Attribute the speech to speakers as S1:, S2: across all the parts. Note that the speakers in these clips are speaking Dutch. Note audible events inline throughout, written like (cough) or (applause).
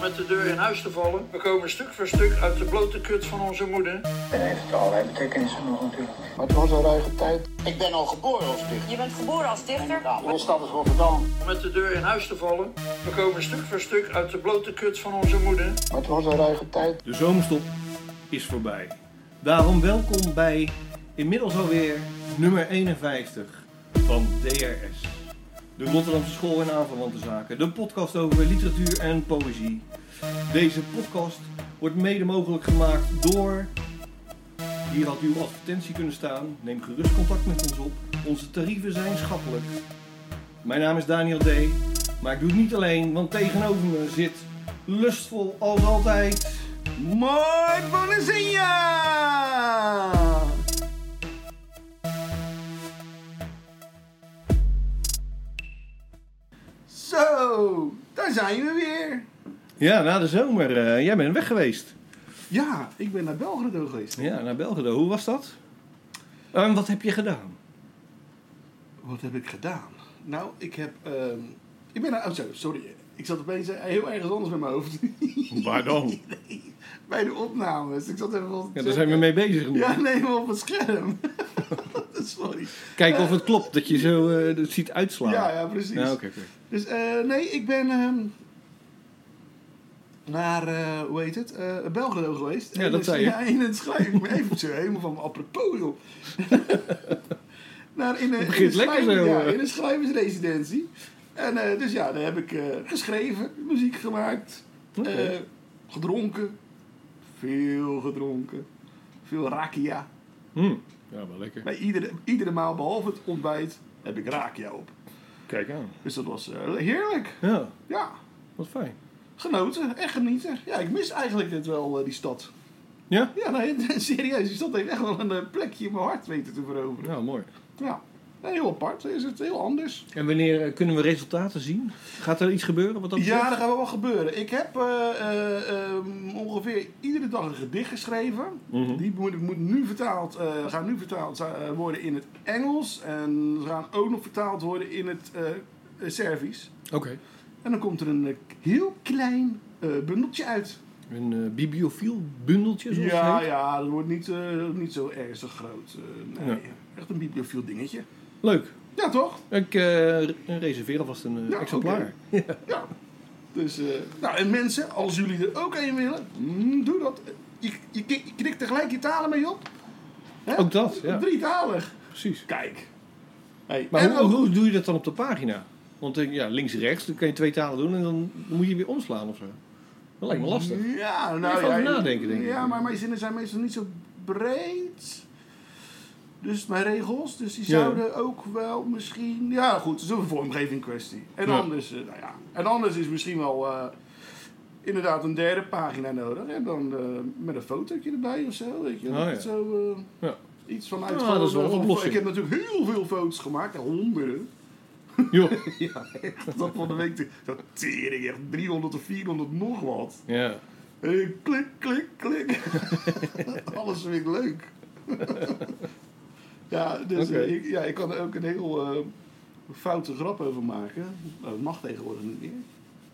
S1: met de deur in huis te vallen. We komen stuk voor stuk uit de blote kut van onze moeder.
S2: En heeft allerlei betekenissen nog natuurlijk.
S3: Maar het was een ruige tijd.
S4: Ik ben al geboren als dichter.
S5: Je bent geboren als dichter?
S4: Nou, mijn stad is Rotterdam.
S1: Met de deur in huis te vallen. We komen stuk voor stuk uit de blote kut van onze moeder.
S3: Maar het was een ruige tijd.
S6: De zomerstop is voorbij. Daarom welkom bij inmiddels alweer nummer 51 van DRS. De Rotterdamse School en aanverwante zaken. De podcast over literatuur en poëzie. Deze podcast wordt mede mogelijk gemaakt door... Hier had uw advertentie kunnen staan. Neem gerust contact met ons op. Onze tarieven zijn schappelijk. Mijn naam is Daniel D. Maar ik doe het niet alleen, want tegenover me zit lustvol als altijd...
S7: Mooi Bonazinha! Zo, daar zijn we weer.
S6: Ja, na de zomer. eh, jij bent weg geweest.
S7: Ja, ik ben naar Belgrado geweest.
S6: Ja, naar België. Hoe was dat? En Ehm, wat heb je gedaan?
S7: Wat heb ik gedaan? Nou, ik heb... ehm, ik ben naar... Oh, zo, sorry. Ik zat opeens eh, heel ergens anders met mijn hoofd. (laughs)
S6: Waar dan?
S7: Bij de opnames. Ik zat even... wat te
S6: Ja, daar zijn we
S7: zeggen.
S6: mee bezig nu.
S7: Ja, nee, maar op het scherm. (laughs) sorry.
S6: Kijken of het klopt dat je zo eh, het ziet uitslaan.
S7: Ja, ja, precies.
S6: Ja, Nou, oké, oké.
S7: Dus eh, nee, ik ben ehm, naar, eh, hoe heet het, eh Belgrado geweest.
S6: Ja,
S7: En
S6: dat
S7: ik-
S6: zei je.
S7: (laughs) Ja, in het schrijven. Ik ben even zo helemaal van mijn apropos, joh. (laughs) naar, in, een- in
S6: begint
S7: een
S6: lekker zo,
S7: schrijver- ja,
S6: eh.
S7: in een schrijversresidentie. En eh, dus ja, daar heb ik eh, geschreven, muziek gemaakt,
S6: Oké.
S7: eh, gedronken. Veel gedronken. Veel rakia.
S6: Hm. Ja, wel lekker.
S7: Bij iedere, iedere maal, behalve het ontbijt, heb ik rakia op.
S6: Kijk aan.
S7: Dus dat was eh, heerlijk.
S6: Ja,
S7: Ja,
S6: wat fijn.
S7: genoten, echt genieten. Ja, ik mis eigenlijk dit wel, eh, die stad.
S6: Ja?
S7: Ja, nee, (laughs) serieus, die stad heeft echt wel een eh, plekje in mijn hart weten te veroveren.
S6: Nou, mooi.
S7: Ja, Nee, heel apart, is het heel anders.
S6: En wanneer eh, kunnen we resultaten zien? Gaat er iets gebeuren wat dat
S7: Ja,
S6: betreft?
S7: dat gaat wel wat gebeuren. Ik heb eh, eh, ehm, ongeveer iedere dag een gedicht geschreven.
S6: Mhm.
S7: Die moet, moet nu vertaald, eh, gaan nu vertaald eh, worden in het Engels. En ze gaan ook nog vertaald worden in het eh, eh, Servisch.
S6: Oké.
S7: En dan komt er een eh, heel klein eh, bundeltje uit.
S6: Een eh, bibliofiel bundeltje, zoals het
S7: Ja,
S6: heet.
S7: ja, dat wordt niet, eh, niet zo ernstig groot. Eh, nee, echt een bibliofiel dingetje.
S6: Leuk.
S7: Ja, toch?
S6: Ik eh, re- reserveer alvast een eh,
S7: Ja,
S6: exemplaar.
S7: oké. Ja. Dus, eh, nou, en mensen, als jullie er ook een willen, mm, doe dat. Je, je, ki- je knikt tegelijk je talen mee op. Hè?
S6: Ook dat, ja.
S7: Drietalig.
S6: Precies.
S7: Kijk. Hey,
S6: Maar
S7: en
S6: hoe,
S7: ook-
S6: hoe doe je dat dan op de pagina? Want eh, ja, links-rechts, dan kan je twee talen doen en dan moet je weer omslaan of zo. Dat lijkt me lastig.
S7: Ja, nou
S6: Even
S7: ja,
S6: over nadenken, denk ik.
S7: Ja, maar mijn zinnen zijn meestal niet zo breed. Dus mijn regels, dus die
S6: Ja.
S7: zouden ook wel misschien... Ja, goed, het is een vormgeving kwestie. En,
S6: Ja.
S7: anders, eh, nou ja. en anders is misschien wel eh, inderdaad een derde pagina nodig. En dan eh, met een fotootje erbij of zo, weet je.
S6: Oh,
S7: dat
S6: ja.
S7: het Zo, eh,
S6: Ja.
S7: Iets vanuit...
S6: Ah, dat is wel een
S7: van- eh,
S6: oplossing.
S7: Ik heb natuurlijk heel veel foto's gemaakt, honderden. (laughs)
S6: Joh.
S7: Dat van de week, te- dat tering, echt 300 of 400 nog wat.
S6: Ja.
S7: En ik Eh, klik, klik,
S6: (laughs)
S7: klik. Alles vind ik leuk. (laughs) ja, dus
S6: Oké.
S7: eh, ik, ja, ik kan er ook een heel eh, foute grap over maken. Nou, dat mag tegenwoordig niet meer.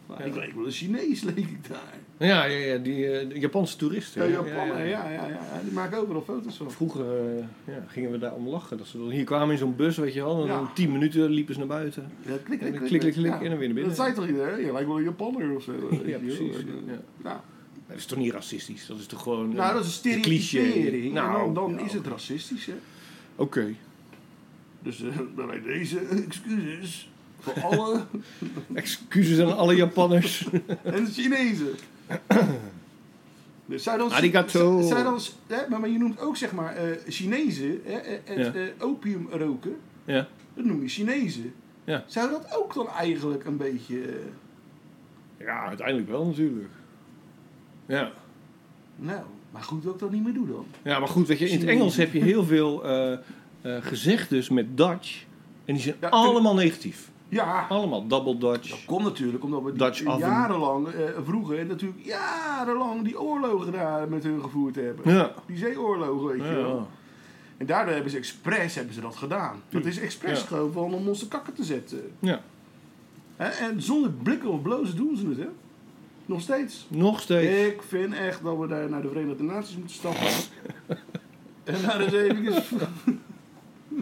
S7: Maar
S6: Ja.
S7: ik leek wel een Chinees, leek ik daar.
S6: Nou Ja, ja, ja, die eh, de Japanse toeristen.
S7: Ja,
S6: hè?
S7: Japaner, ja, ja, ja. Die maken overal foto's van.
S6: Vroeger eh, ja, gingen we daar om lachen. Dat ze dan hier kwamen in zo'n bus, weet je wel. En
S7: Ja.
S6: dan tien minuten liepen ze naar buiten.
S7: Ja, klik,
S6: En dan klik, klik, klik, en dan weer naar binnen.
S7: Dat zei toch iedereen? Je lijkt wel een Japanner of zo. weet je
S6: Ja,
S7: wel.
S6: precies.
S7: En, eh,
S6: Ja.
S7: nou,
S6: Dat is toch niet racistisch? Dat is toch gewoon eh,
S7: nou, dat is een
S6: een
S7: stereotypering.
S6: Nou,
S7: en dan, dan
S6: ja.
S7: is het racistisch, hè.
S6: Oké.
S7: Dus eh, bij deze excuses voor alle
S6: Excuses aan alle Japanners. (laughs)
S7: en de Chinezen. Dus zij dan,
S6: Arigato.
S7: zij dan, hè, maar, maar je noemt ook zeg maar eh, Chinezen, hè, eh, het
S6: Ja.
S7: eh, opium roken,
S6: ja.
S7: dat noem je Chinezen.
S6: Ja.
S7: Zou dat ook dan eigenlijk een beetje. eh,
S6: ja, uiteindelijk wel natuurlijk. Ja.
S7: nou, maar goed, dat ik dat niet meer doe dan.
S6: Ja, maar goed, weet je, in het Engels (laughs) heb je heel veel eh eh gezegdes met Dutch. En die zijn
S7: Ja,
S6: allemaal negatief.
S7: Ja,
S6: Allemaal double
S7: dat
S6: Dutch.
S7: komt natuurlijk omdat we die
S6: Dutch oven.
S7: jarenlang, eh, vroeger natuurlijk jarenlang die oorlogen daar met hun gevoerd hebben.
S6: Ja.
S7: Die zeeoorlogen, weet je wel.
S6: Ja.
S7: En daardoor hebben ze expres hebben ze dat gedaan. Dat is expres
S6: Ja.
S7: gewoon van om ons te kakken te zetten.
S6: ja.
S7: Hè, En zonder blikken of blozen doen ze het, hè? Nog steeds.
S6: Nog steeds.
S7: Ik vind echt dat we daar naar de Verenigde Naties moeten
S6: (laughs)
S7: stappen. en daar eens even...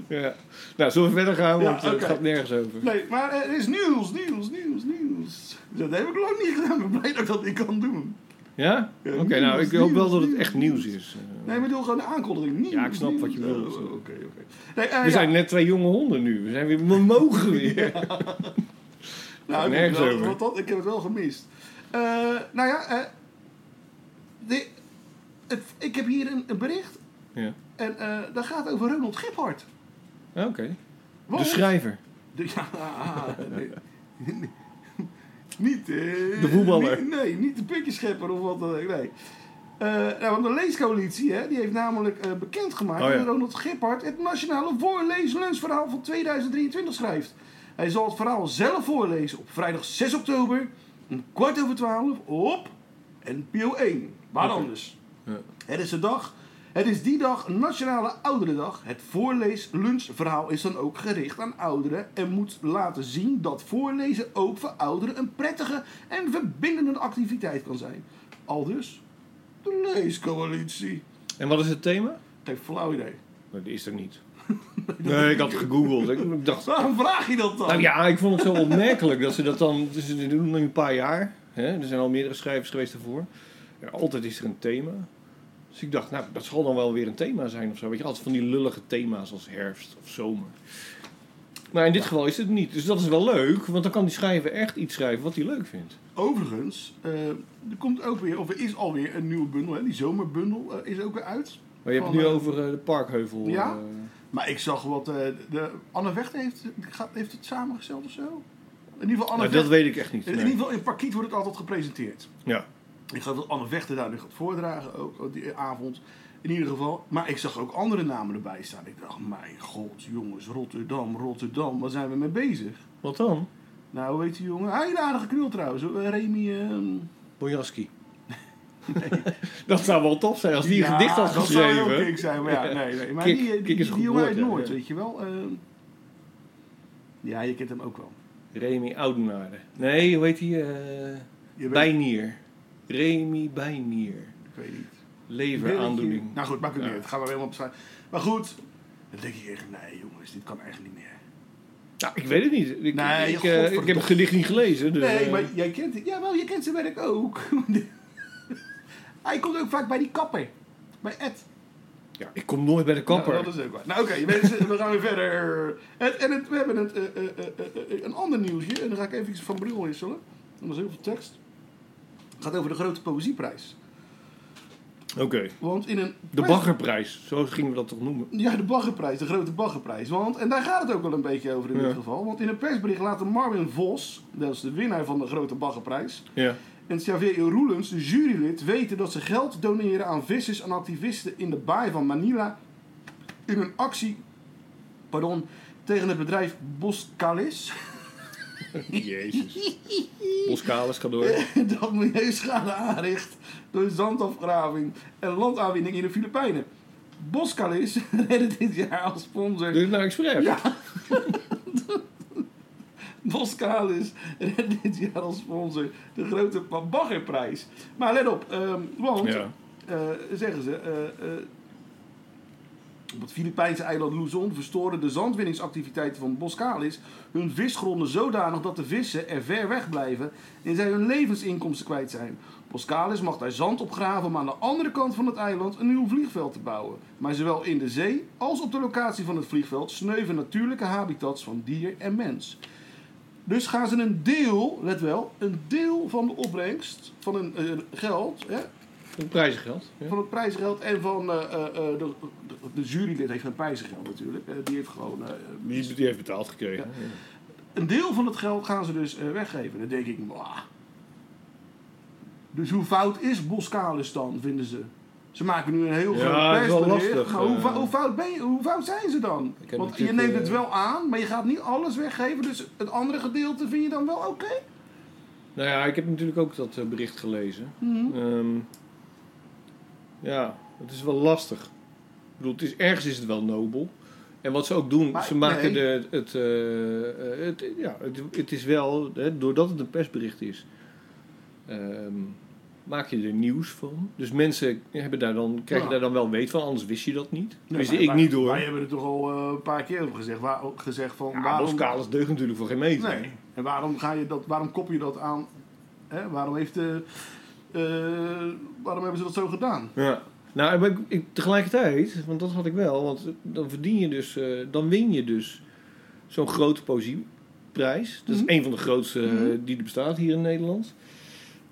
S6: Ja. Nou, zullen we verder gaan,
S7: Ja,
S6: want eh, het
S7: oké.
S6: gaat nergens over.
S7: Nee, maar er is nieuws, nieuws, nieuws, nieuws. Dat heb ik lang niet gedaan. Ik ben blij dat ik dat niet kan doen.
S6: Ja?
S7: Ja,
S6: Oké,
S7: nieuws,
S6: nou, ik hoop wel
S7: nieuws,
S6: dat het
S7: nieuws.
S6: echt nieuws is. Eh,
S7: Nee, maar ik bedoel gewoon de aankondiging. Nieuws,
S6: Ja, ik snap wat je
S7: nieuws.
S6: bedoelt.
S7: Oh, Oké, oké. Nee, eh,
S6: we
S7: ja.
S6: zijn net twee jonge honden nu. We, zijn weer, we mogen weer.
S7: Nou, ik,
S6: Nergens
S7: heb het wel-
S6: over.
S7: wat dat, ik heb het wel gemist. Eh, nou ja, eh, de- het- ik heb hier een, een bericht.
S6: Ja.
S7: En eh, dat gaat over Ronald Giphart.
S6: Oké. De
S7: Want-
S6: schrijver.
S7: De- (laughs) ja, nee. (laughs) niet eh,
S6: De voetballer.
S7: niet- nee, niet de putjeschepper of wat dan ook. Nee. Eh, nou, want de leescoalitie hè, die heeft namelijk eh, bekendgemaakt
S6: Oh, ja.
S7: dat Ronald Giphart het nationale voorlees-lunchverhaal van 2023 schrijft. Hij zal het verhaal zelf voorlezen op vrijdag 6 oktober om kwart over 12 op NPO 1. Waar anders?
S6: Ja.
S7: Het is de dag. Het is die dag Nationale Ouderendag. Het voorlees-lunchverhaal is dan ook gericht aan ouderen en moet laten zien dat voorlezen ook voor ouderen een prettige en verbindende activiteit kan zijn. Al dus de leescoalitie.
S6: En wat is het thema?
S7: Geen flauw idee.
S6: Nou, die is er niet. Nee, ik had gegoogeld. Ik- Ik dacht,
S7: Waarom vraag je dat dan?
S6: Nou ja, ik vond het zo opmerkelijk dat ze dat dan. Dus ze doen nu een paar jaar. Hè? Er zijn al meerdere schrijvers geweest daarvoor. En altijd is er een thema. Dus ik dacht, nou, dat zal dan wel weer een thema zijn of zo. Weet je, altijd van die lullige thema's als herfst of zomer. Maar in dit geval is het niet. Dus dat is wel leuk, want dan kan die schrijver echt iets schrijven wat hij leuk vindt.
S7: Overigens, eh, er komt ook weer, of er is alweer een nieuwe bundel. Hè? Die zomerbundel eh, is ook weer uit.
S6: Maar je hebt
S7: Van,
S6: het nu
S7: eh,
S6: over eh, de Parkheuvel.
S7: Ja?
S6: eh,
S7: Maar ik zag wat eh, de, Anne Vecht heeft, gaat- heeft het samengesteld of zo. In ieder geval Anne
S6: nou,
S7: Vecht.
S6: dat weet ik echt niet.
S7: In
S6: nee.
S7: ieder geval in Parkiet wordt het altijd gepresenteerd.
S6: Ja.
S7: Ik geloof dat Anne Vechter daar nu gaat voordragen ook eh, die avond. In ieder geval. Maar ik zag ook andere namen erbij staan. Ik dacht, mijn god, jongens, Rotterdam, Rotterdam, waar zijn we mee bezig?
S6: Wat dan?
S7: Nou, hoe heet die jongen? Hij is een aardige knul trouwens. hoor. Eh, Remy. ehm,
S6: Bojaski. (laughs) dat zou wel tof zijn als die een
S7: ja,
S6: gedicht had geschreven.
S7: Dat zou heel kick zijn, maar ja, nee, nee. Maar
S6: Kik-
S7: die, eh, die,
S6: kik is
S7: die
S6: een goed
S7: jongen uit
S6: woord, ja,
S7: Noord,
S6: ja.
S7: weet je wel. ehm. ja, je kent hem ook wel.
S6: Remy Oudenaarde. Nee, hoe heet die? eh
S7: Je weet-
S6: Bijnier. Remy Bijnier.
S7: Ik weet niet.
S6: Leveraandoening.
S7: Nou goed, maakt het
S6: Ja.
S7: niet uit. Gaan we weer helemaal opstaan. Maar goed, dan denk ik echt, nee jongens, dit kan eigenlijk niet meer.
S6: Nou, ik weet het niet. Ik,
S7: Nee,
S6: ik, eh,
S7: godverdomme.
S6: ik heb het gedicht niet gelezen. Dus,
S7: Nee,
S6: eh,
S7: maar jij kent het. Jawel, je kent zijn werk ook. (laughs) Hij komt ook vaak bij die kapper. Bij Ed.
S6: ja, ik kom nooit bij de kapper.
S7: Nou, dat is ook waar. Nou oké, mensen, we gaan weer verder. En, en het, we hebben het, eh, eh, eh, eh, eh, een ander nieuwsje. En dan ga ik even iets van bril wisselen. Want dat is heel veel tekst. Het gaat over de grote poëzieprijs.
S6: Oké.
S7: Want in een...
S6: De
S7: pers-
S6: baggerprijs. Zo gingen we dat toch noemen.
S7: Ja, de baggerprijs, de grote baggerprijs. Want, en daar gaat het ook wel een beetje over in
S6: Ja.
S7: dit geval. Want in een persbericht laten Marvin Vos, dat is de winnaar van de grote baggerprijs,
S6: Ja.
S7: en Xavier Roelens, de jurylid, weten dat ze geld doneren aan vissers en activisten in de baai van Manila in een actie pardon, tegen het bedrijf Boscalis.
S6: (laughs)
S7: (laughs)
S6: Jezus. Boskalis gaat door.
S7: dat milieuschade aanricht door zandafgraving en landaanwinning in de Filipijnen. Boscalis (laughs) redde dit jaar als sponsor
S6: Doe het nou expres.
S7: Ja. Boskalis redt dit jaar als sponsor de grote baggerprijs. Maar let op, ehm, want,
S6: Ja.
S7: eh, zeggen ze, eh, eh, op het Filipijnse eiland Luzon verstoren de zandwinningsactiviteiten van Boskalis hun visgronden zodanig dat de vissen er ver weg blijven en zij hun levensinkomsten kwijt zijn. Boskalis mag daar zand opgraven om aan de andere kant van het eiland een nieuw vliegveld te bouwen. Maar zowel in de zee als op de locatie van het vliegveld sneuven natuurlijke habitats van dier en mens. Dus gaan ze een deel, let wel, een deel van de opbrengst van hun eh, geld, hè,
S6: Voor prijzengeld. Ja.
S7: van het prijzengeld en van eh, eh, eh, de, de, de jurylid heeft geen prijzengeld natuurlijk. Eh, die heeft gewoon eh,
S6: Die, die heeft betaald gekregen. Ja.
S7: een deel van het geld gaan ze dus eh, weggeven. Dan denk ik, bah. Dus hoe fout is Boskalis dan, vinden ze? Ze maken nu een heel
S6: Ja,
S7: groot
S6: het is wel
S7: persbericht,
S6: lastig,
S7: Maar hoe,
S6: eh.
S7: fa- hoe, fout ben je, hoe fout zijn ze dan?
S6: Ik heb
S7: Want je
S6: natuurlijk,
S7: neemt
S6: eh,
S7: het wel aan, maar je gaat niet alles weggeven. Dus het andere gedeelte vind je dan wel oké?
S6: Nou ja, ik heb natuurlijk ook dat eh, bericht gelezen.
S7: Mhm.
S6: Ehm, ja, het is wel lastig. Ik bedoel, het is, ergens is het wel nobel. En wat ze ook doen,
S7: Maar-
S6: ze maken
S7: nee.
S6: de, het, eh, eh, het... Ja, het, het is wel... Hè, doordat het een persbericht is... ehm, maak je er nieuws van. Dus mensen hebben daar dan, krijgen
S7: Ja.
S6: daar dan wel weet van, anders wist je dat niet.
S7: Ja,
S6: Wist
S7: maar
S6: Dus ik
S7: wij-
S6: niet door.
S7: Wij hebben er toch al eh, een paar keer over gezegd. Waar, ook gezegd van,
S6: Ja,
S7: waarom,
S6: Boskalis deugt natuurlijk voor geen meter.
S7: nee. En waarom, ga je dat, waarom kop je dat aan? Hè? Waarom, heeft, eh, eh, waarom hebben ze dat zo gedaan?
S6: Ja. Nou, maar ik, ik- tegelijkertijd, want dat had ik wel, want dan verdien je dus, eh, dan win je dus zo'n grote poëzieprijs. Dat is
S7: Mhm.
S6: een van de grootste eh, die er bestaat hier in Nederland.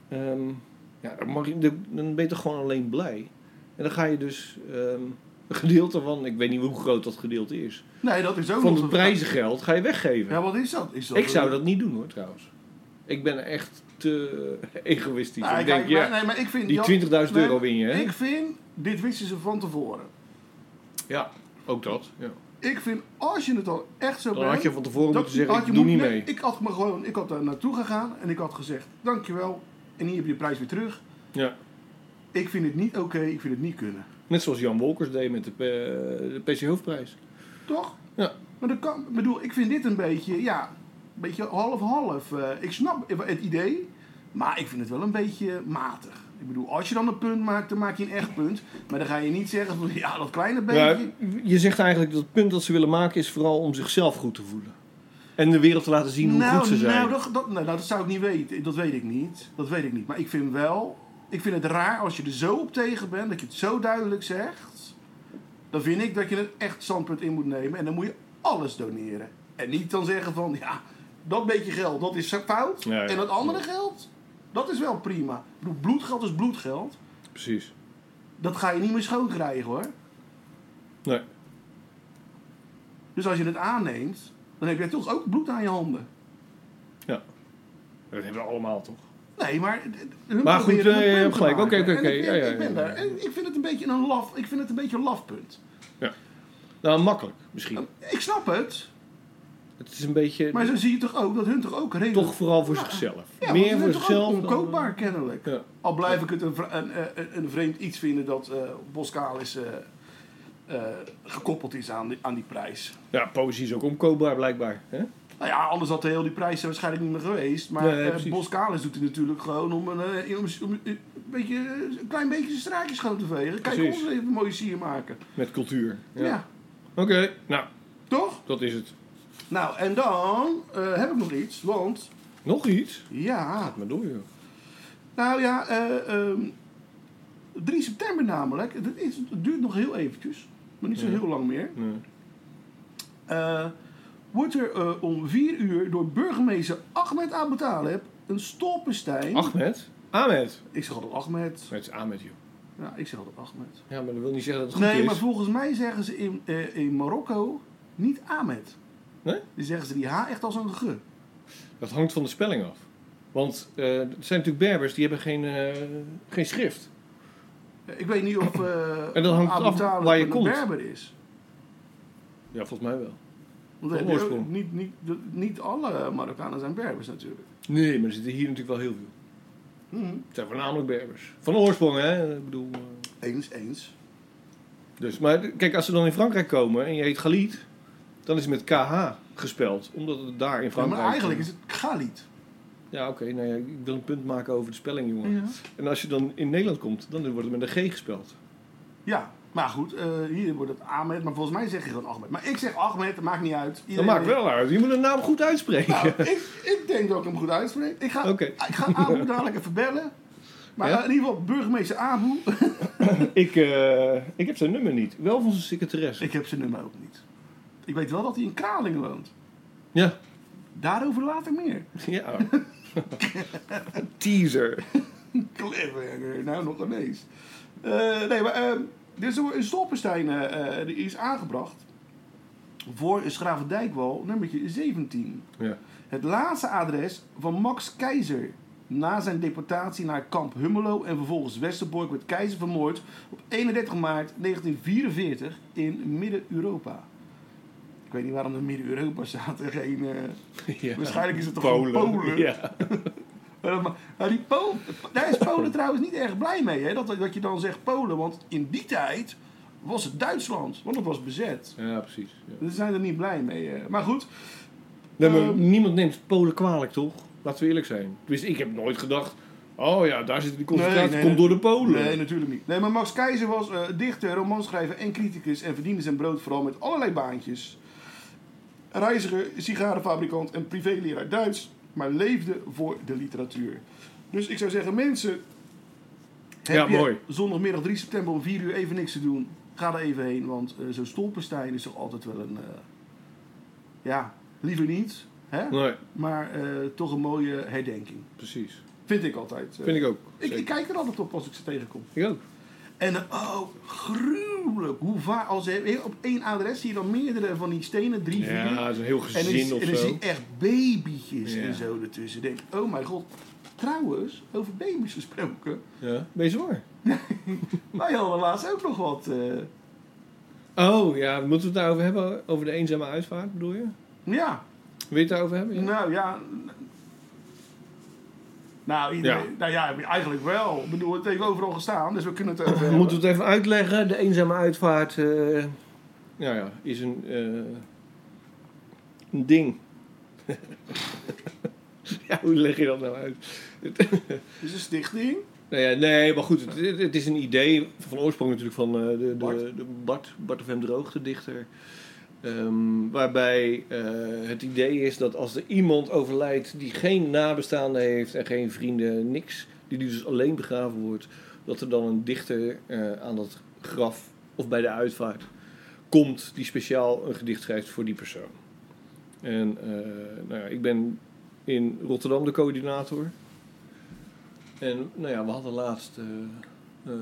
S6: Ehm, ja, dan, mag je, dan- dan ben je toch gewoon alleen blij. En dan ga je dus ehm, een gedeelte van, ik weet niet hoe groot dat gedeelte is,
S7: Nee, dat is ook
S6: van
S7: nog
S6: het
S7: een vraag.
S6: prijzengeld ga je weggeven.
S7: Ja, wat is dat? Is dat
S6: ik zou dat niet doen hoor, trouwens. Ik ben echt te (laughs) egoïstisch.
S7: Nou,
S6: ik
S7: kijk,
S6: denk,
S7: maar-
S6: ja,
S7: nee, maar ik vind,
S6: die
S7: Jan-
S6: 20.000
S7: nee,
S6: euro win je, hè?
S7: Ik vind, dit wisten ze van tevoren.
S6: ja, ook dat. Ja.
S7: Ik vind, als je het al echt zo
S6: Dan
S7: brengt,
S6: had je van tevoren
S7: dat-
S6: moeten zeggen,
S7: had je
S6: ik doe
S7: moet-
S6: niet
S7: nee,
S6: mee.
S7: Ik had, me gewoon, ik had daar naartoe gegaan en ik had gezegd, dankjewel. En hier heb je je prijs weer terug.
S6: Ja.
S7: Ik vind het niet oké, ik vind het niet kunnen.
S6: Net zoals Jan Wolkers deed met de, eh, de PC Hoofdprijs.
S7: Toch?
S6: Ja.
S7: Maar dat kan, ik bedoel, ik vind dit een beetje, ja, een beetje half-half. Eh, ik snap het idee, maar ik vind het wel een beetje matig. Ik bedoel, als je dan een punt maakt, dan maak je een echt punt. Maar dan ga je niet zeggen van, (laughs) ja, dat kleine beetje.
S6: Ja, je zegt eigenlijk dat het punt dat ze willen maken is vooral om zichzelf goed te voelen. En de wereld te laten zien hoe goed ze zijn.
S7: Nou dat, dat, nou, nou, dat zou ik niet weten. Dat weet ik niet. Dat weet ik niet. Maar ik vind wel... Ik vind het raar als je er zo op tegen bent, dat je het zo duidelijk zegt. Dan vind ik dat je een echt standpunt in moet nemen. En dan moet je alles doneren. En niet dan zeggen van, ja, dat beetje geld, dat is fout.
S6: Ja, ja.
S7: En dat andere geld, dat is wel prima. Ik bedoel, bloedgeld is bloedgeld.
S6: Precies.
S7: Dat ga je niet meer schoon krijgen, hoor.
S6: Nee.
S7: Dus als je het aanneemt, dan heb jij toch ook bloed aan je handen.
S6: Dat hebben we allemaal toch?
S7: Nee, maar... eh, hun
S6: Maar goed,
S7: proberen
S6: eh,
S7: een
S6: je
S7: punt
S6: hebt
S7: te
S6: gelijk.
S7: maken.
S6: Oké, oké,
S7: En
S6: oké.
S7: Ik ben,
S6: Ja, ja,
S7: ik ben
S6: ja,
S7: daar.
S6: ja.
S7: En Ik vind het een beetje een laf. Ik vind het een beetje een lafpunt.
S6: Nou, makkelijk misschien.
S7: Ik snap het,
S6: Het is een beetje
S7: Oh. maar zo zie je toch ook dat hun toch ook redelijk...
S6: toch vooral voor zichzelf.
S7: ja,
S6: Meer voor
S7: want hun toch ook
S6: zichzelf. dan- eh,
S7: onkoopbaar kennelijk.
S6: Ja.
S7: Al blijf ik het een, vra- een, eh, een, een vreemd iets vinden dat eh Boskalis eh, eh, gekoppeld is aan die, aan die prijs.
S6: ja, poëzie is ook onkoopbaar blijkbaar. Hè?
S7: Nou ja, anders had de heel die prijs er waarschijnlijk niet meer geweest. Maar
S6: Nee, nee,
S7: eh,
S6: precies.
S7: Boskalis doet het natuurlijk gewoon om een, eh, om, om een, beetje, een klein beetje zijn straatjes schoon te vegen. Kijk,
S6: Precies.
S7: ons even een mooie sier maken.
S6: Met cultuur. Ja.
S7: ja.
S6: Oké, nou,
S7: Toch?
S6: dat is het.
S7: Nou, en dan eh, heb ik nog iets, want
S6: Nog iets?
S7: ja,
S6: Maar door joh.
S7: nou ja, eh, ehm, 3 september namelijk, het, is, het duurt nog heel eventjes, maar niet zo heel lang meer,
S6: Nee.
S7: Eh, wordt er eh, om 4 uur door burgemeester Ahmed Abu Talib een stolpenstein,
S6: Ahmed? Ahmed?
S7: ik zeg altijd Ahmed,
S6: Nee, het is Ahmed joh.
S7: ja, ik zeg altijd Ahmed.
S6: Ja, maar dat wil niet zeggen dat het goed
S7: Nee,
S6: is.
S7: maar volgens mij zeggen ze in, eh, in Marokko niet Ahmed.
S6: Nee?
S7: Die zeggen ze die H echt als een G.
S6: Dat hangt van de spelling af. Want eh, het zijn natuurlijk Berbers, die hebben geen, eh, geen schrift.
S7: Ik weet niet of eh
S6: En dan hangt het
S7: Abu
S6: af
S7: Talib
S6: waar je
S7: een
S6: komt.
S7: Berber is.
S6: Ja, volgens mij wel.
S7: Want
S6: Van
S7: dat heb je
S6: oorsprong.
S7: ook- niet, niet, niet alle Marokkanen zijn Berbers natuurlijk.
S6: Nee, maar er zitten hier natuurlijk wel heel veel.
S7: Hmm.
S6: Het zijn voornamelijk Berbers. Van oorsprong, hè? Ik bedoel. eh,
S7: Eens, eens.
S6: dus, maar d- kijk, als ze dan in Frankrijk komen en je heet Galit, dan is het met KH gespeld. Omdat het daar in
S7: Ja,
S6: Frankrijk.
S7: maar eigenlijk is het Galit.
S6: Ja, oké, nou ja, ik wil een punt maken over de spelling, jongen.
S7: Ja.
S6: En als je dan in Nederland komt, dan wordt het met een G gespeld.
S7: ja, maar goed, eh, hier wordt het Ahmed, maar volgens mij zeg je gewoon Ahmed. Maar ik zeg Ahmed, dat maakt niet uit.
S6: Dat
S7: Iedereen-
S6: maakt wel uit. Je moet de naam goed uitspreken.
S7: Nou, ik, ik denk dat ik hem goed uitspreek. Ik ga,
S6: Oké.
S7: ik ga Abu dadelijk even bellen. Maar
S6: Ja?
S7: eh, in ieder geval burgemeester Abu. (laughs)
S6: Ik, eh, ik heb zijn nummer niet. Wel van zijn secretaresse.
S7: ik heb zijn nummer ook niet. Ik weet wel dat hij in Kralingen woont.
S6: Ja.
S7: Daarover later meer.
S6: Ja. (laughs) Teaser.
S7: Cliffhanger, nou nog ineens. Eh nee, maar ehm er is een stolpenstein eh, eh, die is aangebracht voor Schravendijkwal nummertje 17.
S6: Ja.
S7: Het laatste adres van Max Keizer na zijn deportatie naar kamp Hummelo en vervolgens Westerbork werd Keizer vermoord op 31 maart 1944 in Midden-Europa. Ik weet niet waarom er Midden-Europa staat en geen... eh,
S6: Ja.
S7: Waarschijnlijk is het toch gewoon Polen?
S6: Ja.
S7: Maar dat- maar die Polen, daar is Polen trouwens niet erg blij mee, hè? Dat, dat je dan zegt Polen. Want in die tijd was het Duitsland, want het was bezet.
S6: ja, precies. Ja.
S7: Dus ze zijn er niet blij mee. eh. Maar goed, Ehm.
S6: Nee, maar niemand neemt Polen kwalijk, toch? Laten we eerlijk zijn. Dus ik heb nooit gedacht... Oh ja, daar zit die concentratie.
S7: Nee, nee,
S6: Komt
S7: nee.
S6: door de Polen.
S7: Nee, natuurlijk niet. Nee, maar Max Keizer was eh, dichter, romanschrijver en criticus en verdiende zijn brood vooral met allerlei baantjes. Reiziger, sigarenfabrikant en privéleraar Duits, maar leefde voor de literatuur. Dus ik zou zeggen, mensen, heb
S6: Ja,
S7: je
S6: mooi.
S7: zondagmiddag 3 september om 4 uur even niks te doen, ga er even heen, want eh, zo'n stolpenstein is toch altijd wel een, eh, ja, liever niet, hè?
S6: Nee,
S7: maar eh, toch een mooie herdenking.
S6: precies.
S7: Vind ik altijd. eh.
S6: Vind ik ook.
S7: ik, ik
S6: Zeker.
S7: kijk er altijd op als ik ze tegenkom.
S6: Ik ook.
S7: En eh, oh, gruwelijk. Hoe vaak, als je, op één adres zie je dan meerdere van die stenen, drie, vier.
S6: Ja, dat is een heel
S7: en dan,
S6: gezin
S7: is-
S6: of
S7: en dan
S6: zo.
S7: zie je echt babytjes
S6: Ja.
S7: en zo ertussen. Denk, ik, oh mijn god. Trouwens, over baby's gesproken.
S6: Ja, ben je zwaar?
S7: Wij hadden laatst ook nog wat. eh,
S6: Oh ja, moeten we het daarover hebben? Over de eenzame uitvaart bedoel je?
S7: ja,
S6: Wil je het daarover hebben? Ja.
S7: nou ja. n- Nou, iedereen- nou ja, eigenlijk wel. Ik bedoel, het heeft overal gestaan, dus we
S6: (clears throat)
S7: kunnen het over
S6: We moeten het even uitleggen. De eenzame uitvaart eh, nou ja, is een, eh, een ding. (laughs) ja, hoe leg je dat nou uit?
S7: Het is een stichting.
S6: (laughs) nou ja, nee, maar goed, het, het is een idee van oorsprong natuurlijk van eh, de,
S7: Bart.
S6: de, de Bart, Bart of M. Droog, de dichter. Ehm, waarbij eh, het idee is dat als er iemand overlijdt die geen nabestaanden heeft en geen vrienden, niks, die dus alleen begraven wordt, dat er dan een dichter eh, aan dat graf of bij de uitvaart komt die speciaal een gedicht schrijft voor die persoon. En eh, nou ja, ik ben in Rotterdam de coördinator. En nou ja, we hadden laatst eh, eh,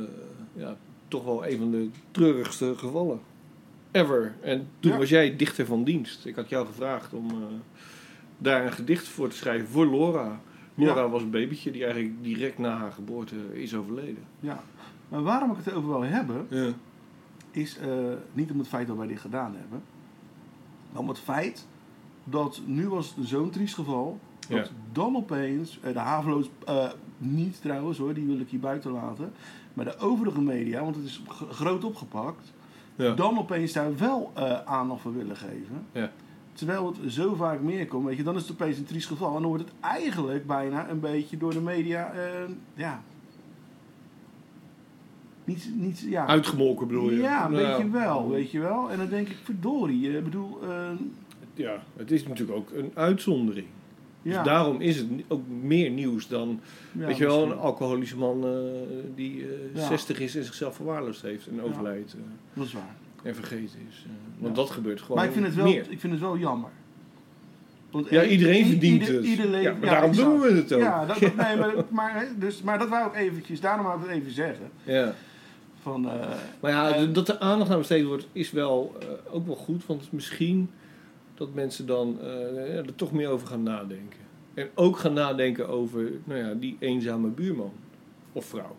S6: ja, toch wel een van de treurigste gevallen ever. En toen
S7: Ja.
S6: was jij dichter van dienst. Ik had jou gevraagd om eh, daar een gedicht voor te schrijven voor Laura. Laura was een babytje die eigenlijk direct na haar geboorte is overleden.
S7: Ja. Maar waarom ik het erover wil hebben,
S6: Ja.
S7: is eh, niet om het feit dat wij dit gedaan hebben, maar om het feit dat nu was het zo'n triest geval, dat
S6: Ja.
S7: dan opeens, eh, de Haveloos eh, niet trouwens hoor, die wil ik hier buiten laten, maar de overige media, want het is g- groot opgepakt,
S6: Ja.
S7: dan opeens daar wel eh aandacht voor willen geven.
S6: Ja.
S7: Terwijl het zo vaak meer komt, weet je, dan is het opeens een triest geval. En dan wordt het eigenlijk bijna een beetje door de media, eh, ja... Niet, niet, ja,
S6: Uitgemolken bedoel je?
S7: ja, een
S6: Nou,
S7: beetje wel, weet je wel. En dan denk ik, verdorie, ik bedoel, eh,
S6: Dus Ja, het is natuurlijk ook een uitzondering.
S7: ja.
S6: Dus daarom is het ni- ook meer nieuws dan,
S7: ja,
S6: weet je wel, een
S7: misschien.
S6: alcoholische man eh, die eh,
S7: Ja.
S6: 60 is en zichzelf verwaarloosd heeft en overlijdt eh,
S7: Dat is waar.
S6: en vergeten is. eh. want
S7: Ja.
S6: dat gebeurt gewoon
S7: Maar ik vind, het wel,
S6: meer.
S7: ik vind het wel jammer. Want
S6: Ja,
S7: i-
S6: iedereen
S7: i-
S6: verdient
S7: ieder-
S6: het.
S7: ieder leven-
S6: ja, maar daarom
S7: exact.
S6: doen we het ook. (laughs)
S7: Ja, dat, dat- nee, maar, maar, hè, dus, maar dat wou ik eventjes, daarom wou ik het even zeggen.
S6: Ja.
S7: Van, eh,
S6: Maar ja,
S7: En-
S6: dat de aandacht aan besteed wordt is wel eh, ook wel goed. Want misschien dat mensen dan eh, er toch meer over gaan nadenken. En ook gaan nadenken over nou ja, die eenzame buurman of vrouw.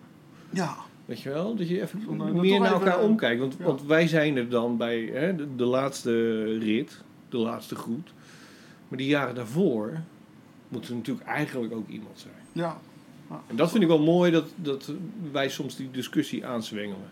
S7: ja,
S6: Weet je wel? Dat je even
S7: Van, eh, dat
S6: meer
S7: toch
S6: naar
S7: even,
S6: elkaar
S7: eh,
S6: omkijkt. Want,
S7: ja.
S6: want wij zijn er dan bij hè, de, de laatste rit, de laatste groet. Maar die jaren daarvoor moet er natuurlijk eigenlijk ook iemand zijn.
S7: ja,
S6: En dat vind ik wel mooi dat, dat wij soms die discussie aanzwengelen.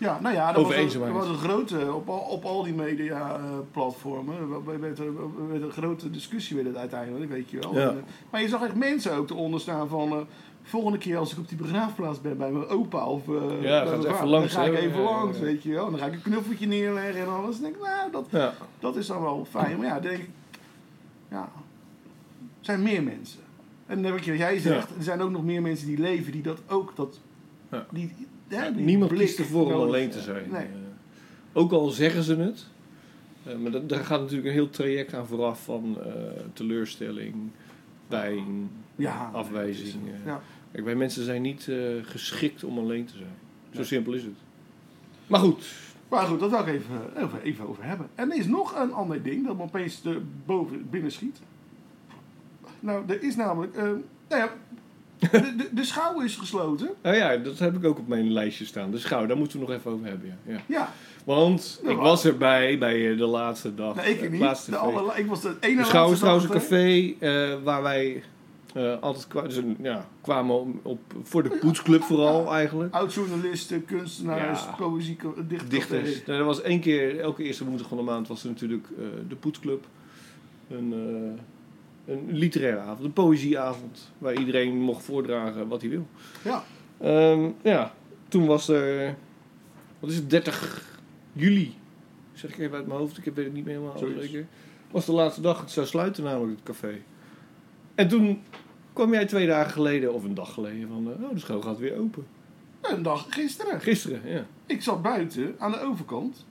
S7: ja, nou ja, dat
S6: Over
S7: was, een,
S6: eenzaamheid.
S7: dat was een grote, op al, op al die media eh, platformen, werd, werd, er- werd een grote discussie werd het uiteindelijk, weet je wel.
S6: Ja.
S7: En, eh, Maar je zag echt mensen ook eronder staan van... eh, volgende keer als ik op die begraafplaats ben bij mijn opa of... eh, bij mijn
S6: gaat
S7: vader,
S6: even langs,
S7: Dan ga ik
S6: hè?
S7: even
S6: Ja, ja,
S7: langs,
S6: ja.
S7: weet je wel. Dan ga ik een knuffeltje neerleggen en alles. En denk ik, nou, dat,
S6: Ja,
S7: dat is dan wel fijn. Maar ja, denk ik... Ja, er zijn meer mensen. En dan wat je- jij zegt, er zijn ook nog meer mensen die leven die dat ook... Dat,
S6: Ja.
S7: die, hè, die
S6: niemand
S7: blik
S6: kiest ervoor om
S7: nodig
S6: alleen te
S7: hebben.
S6: zijn.
S7: Nee.
S6: Eh, ook al zeggen ze het. eh, maar dat, daar gaat natuurlijk een heel traject aan vooraf van eh, teleurstelling,
S7: Ah,
S6: pijn,
S7: Ja,
S6: afwijzing. eh.
S7: Ja.
S6: Kijk, wij mensen zijn niet eh, geschikt om alleen te zijn. Zo simpel is het. Maar goed,
S7: Maar goed, dat wil ik even, even, even over hebben. En er is nog een ander ding dat me opeens er boven binnen schiet. Nou, er is namelijk. eh, nou ja, de, de, de schouw is gesloten.
S6: nou ja, dat heb ik ook op mijn lijstje staan. De schouw, daar moeten we nog even over hebben. Ja. Ja.
S7: Ja,
S6: Want
S7: Nou,
S6: ik was erbij bij eh, de laatste dag.
S7: nou, ik
S6: eh,
S7: niet.
S6: laatste
S7: De
S6: feest.
S7: allerla- ik was de ene
S6: De Schouw Dus is trouwens
S7: laatste
S6: een
S7: dag, hè?
S6: café eh, waar wij eh, altijd kwa- dus, een- ja, kwamen om- op, voor de poetsclub vooral eigenlijk.
S7: Oud-journalisten, kunstenaars,
S6: Ja.
S7: poëzie, ko- dichters.
S6: Dichters. Nou, er was één keer, elke eerste woensdag van de maand was er natuurlijk eh, de poetsclub. Een, eh, Een literaire avond, een poëzieavond, waar iedereen mocht voordragen wat hij wil.
S7: Ja.
S6: Ehm, ja, toen was er, wat is het, 30 juli, zeg ik even uit mijn hoofd, ik heb- weet het niet meer helemaal
S7: Zoiets.
S6: zeker. Was de laatste dag, het zou sluiten namelijk, het café. En toen kwam jij twee dagen geleden, of een dag geleden, van, eh, oh, de school gaat weer open.
S7: Een dag gisteren.
S6: Gisteren, ja.
S7: Ik zat buiten aan de overkant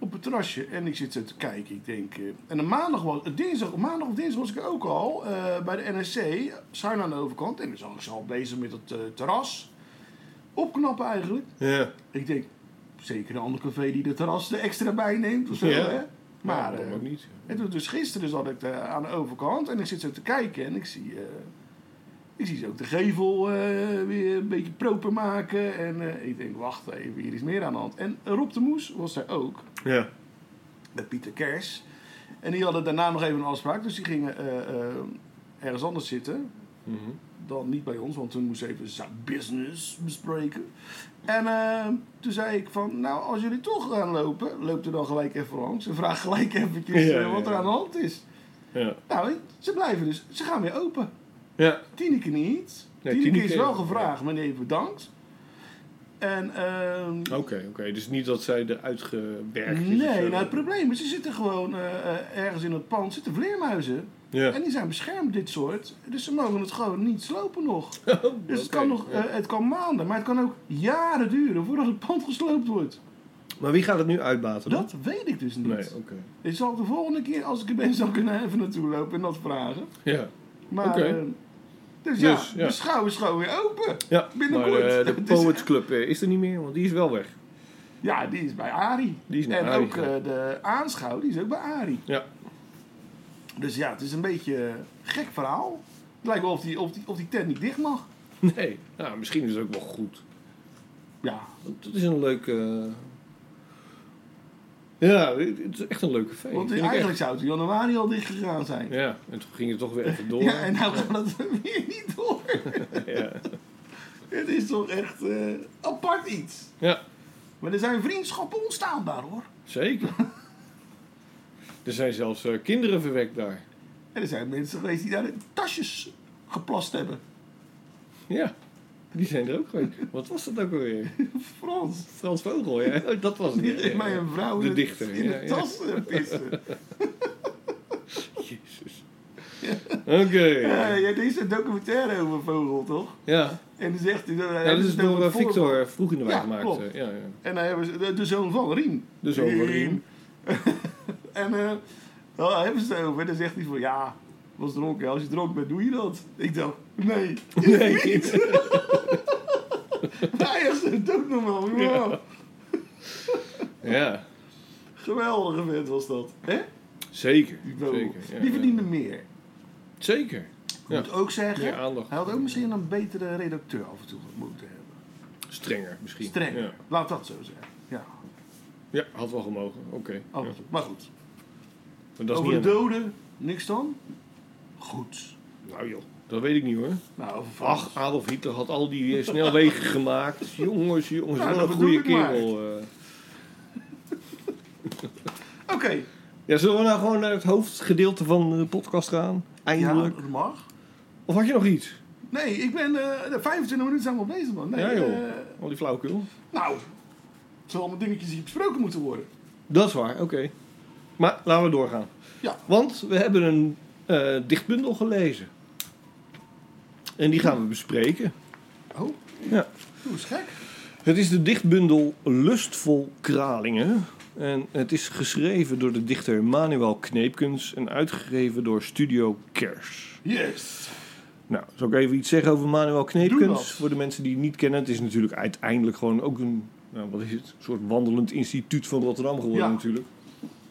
S7: op het terrasje en ik zit zo te kijken. Ik denk, eh, en een maandag was, een dinsdag, maandag of dinsdag was ik ook al eh, bij de NSC, schuin aan de overkant. En dan zag ik ze al bezig met het eh, terras. Opknappen eigenlijk.
S6: Ja,
S7: Ik denk, zeker een ander café die de terras er extra bij neemt of zo.
S6: Ja.
S7: Hè? Maar,
S6: dat
S7: eh,
S6: ook niet.
S7: en toen, dus gisteren zat ik eh, aan de overkant en ik zit zo te kijken en ik zie, eh, ik zie ze ook de gevel eh, weer een beetje proper maken. En eh, ik denk, wacht even, hier is meer aan de hand. En Rob de Moes was daar ook,
S6: Ja.
S7: met Pieter Kers. En die hadden daarna nog even een afspraak, dus die gingen eh, eh, ergens anders zitten.
S6: Mhm.
S7: Dan niet bij ons, want toen moesten ze even zijn business bespreken. En eh, toen zei ik van, nou als jullie toch gaan lopen, loop er dan gelijk even langs. En vraag gelijk eventjes
S6: Ja,
S7: eh, wat
S6: ja,
S7: er
S6: ja.
S7: aan de hand is.
S6: Ja.
S7: Nou, ze blijven dus. Ze gaan weer open.
S6: Ja.
S7: Tineke niet.
S6: Nee,
S7: Tineke,
S6: Tineke-
S7: is wel gevraagd, maar die heeft bedankt. En ehm
S6: Oké, oké. Dus niet dat zij eruit gewerkt is. of
S7: nee,
S6: zo.
S7: nou het probleem is, ze zitten gewoon eh, eh, ergens in het pand, zitten vleermuizen.
S6: Ja. (laughs)
S7: En die zijn beschermd, dit soort. Dus ze mogen het gewoon niet slopen nog. Dus het,
S6: Oké,
S7: kan nog
S6: ja.
S7: eh, het kan maanden, maar het kan ook jaren duren voordat het pand gesloopt wordt.
S6: Maar wie gaat het nu uitbaten? dan?
S7: Dat weet ik dus niet.
S6: Nee, oké.
S7: Ik zal de volgende keer, als ik er ben, zou kunnen even naartoe lopen en dat vragen.
S6: Ja.
S7: Maar,
S6: Oké.
S7: eh, dus, ja,
S6: Dus, ja.
S7: de schouw is gewoon weer open.
S6: ja.
S7: Binnenkort.
S6: Maar eh, de
S7: (laughs) Het is-
S6: Poets Club eh, is er niet meer, want die is wel weg.
S7: Ja, die is bij Ari.
S6: Die is naar
S7: en
S6: Arie
S7: ook
S6: gegaan.
S7: eh, de aanschouw, die is ook bij Ari.
S6: Ja.
S7: Dus ja, het is een beetje een gek verhaal. Het lijkt wel of die, of, die, of die tent niet dicht mag.
S6: (laughs) Nee. Nou, misschien is het ook wel goed.
S7: Ja,
S6: Want dat is een leuke... eh, Ja, het het is echt een leuke feest.
S7: want
S6: Vind ik
S7: eigenlijk
S6: echt.
S7: zou het in januari al dicht gegaan zijn. Ja,
S6: Ja, en toen ging het toch weer
S7: (laughs)
S6: even door.
S7: en nou gaat het (laughs) weer niet door. (laughs)
S6: ja.
S7: het is toch echt eh, apart iets.
S6: ja.
S7: Maar er zijn vriendschappen ontstaan daar hoor. (laughs)
S6: Zeker. er zijn zelfs eh, kinderen verwekt daar.
S7: En er zijn mensen geweest die daar in tasjes geplast hebben.
S6: Ja, die zijn er ook
S7: (laughs)
S6: geweest. Wat was dat ook alweer?
S7: Frans.
S6: Frans Vogel, ja. Oh, Dat was het.
S7: Die deed
S6: Ja,
S7: mij
S6: ja.
S7: een vrouw
S6: De
S7: in,
S6: dichter,
S7: in
S6: ja,
S7: de
S6: ja.
S7: tas eh, pissen.
S6: Jezus. Oké.
S7: Ja, ja, er is een documentaire over een vogel, toch?
S6: Ja.
S7: En dan zegt hij... dan-
S6: ja, dat
S7: hebben
S6: is
S7: ze het over
S6: door eh,
S7: het voorbeeld.
S6: Victor vroeg in de wijk
S7: Ja,
S6: gemaakt.
S7: klopt.
S6: eh, Ja, ja.
S7: En dan hebben ze eh, de, de zoon van Riem.
S6: De zoon van Riem.
S7: (laughs) en eh daar hebben ze het over. En dan zegt hij van, ja, was dronken. Als je dronken bent, doe je dat. Ik dacht, nee.
S6: Nee. (laughs)
S7: (laughs) Hij is het ook normaal. Wow.
S6: ja,
S7: Geweldige vent was dat. Hè?
S6: zeker.
S7: Die vogel.
S6: zeker ja,
S7: Die
S6: ja.
S7: verdiende meer.
S6: Zeker.
S7: Ik
S6: Ja.
S7: moet ook zeggen,
S6: Meer aandacht.
S7: hij had ook misschien een betere redacteur af en toe moeten hebben.
S6: Strenger misschien.
S7: Streng,
S6: Ja,
S7: laat dat zo zeggen. Ja,
S6: Ja, had wel gemogen. Oké. Ja.
S7: alles. Maar goed,
S6: Maar dat is
S7: Oh. over de
S6: niet aan-
S7: doden, niks dan? Goed.
S6: Nou joh, dat weet ik niet hoor.
S7: Nou, over Frans.
S6: Ach, Adolf Hitler had al die eh,
S7: (laughs)
S6: snelwegen gemaakt. Jongens, jongens,
S7: Nou,
S6: wat
S7: dat
S6: een
S7: bedoel
S6: goede
S7: ik maar.
S6: kerel. eh.
S7: Oké,
S6: Ja, zullen we nou gewoon naar het hoofdgedeelte van de podcast gaan?
S7: ja,
S6: Eindelijk.
S7: dat mag.
S6: Of had je nog iets?
S7: Nee, ik ben eh, 25 minuten zijn we al bezig, man. Nee,
S6: ja joh,
S7: eh,
S6: al die flauwekul.
S7: nou, het zijn allemaal dingetjes die besproken moeten worden.
S6: Dat is waar, oké. Maar laten we doorgaan.
S7: Ja.
S6: Want we hebben een eh, dichtbundel gelezen. En die gaan we bespreken.
S7: Oh,
S6: Ja.
S7: Doe eens gek.
S6: Het is de dichtbundel Lustvol Kralingen. En het is geschreven door de dichter Manuel Kneepkens en uitgegeven door Studio Kers.
S7: Yes.
S6: Nou, zal ik even iets zeggen over Manuel
S7: Doe
S6: Kneepkens?
S7: dat.
S6: Voor de mensen die het niet kennen, het is natuurlijk uiteindelijk gewoon ook een, nou, wat is het? een soort wandelend instituut van Rotterdam geworden
S7: Ja.
S6: natuurlijk.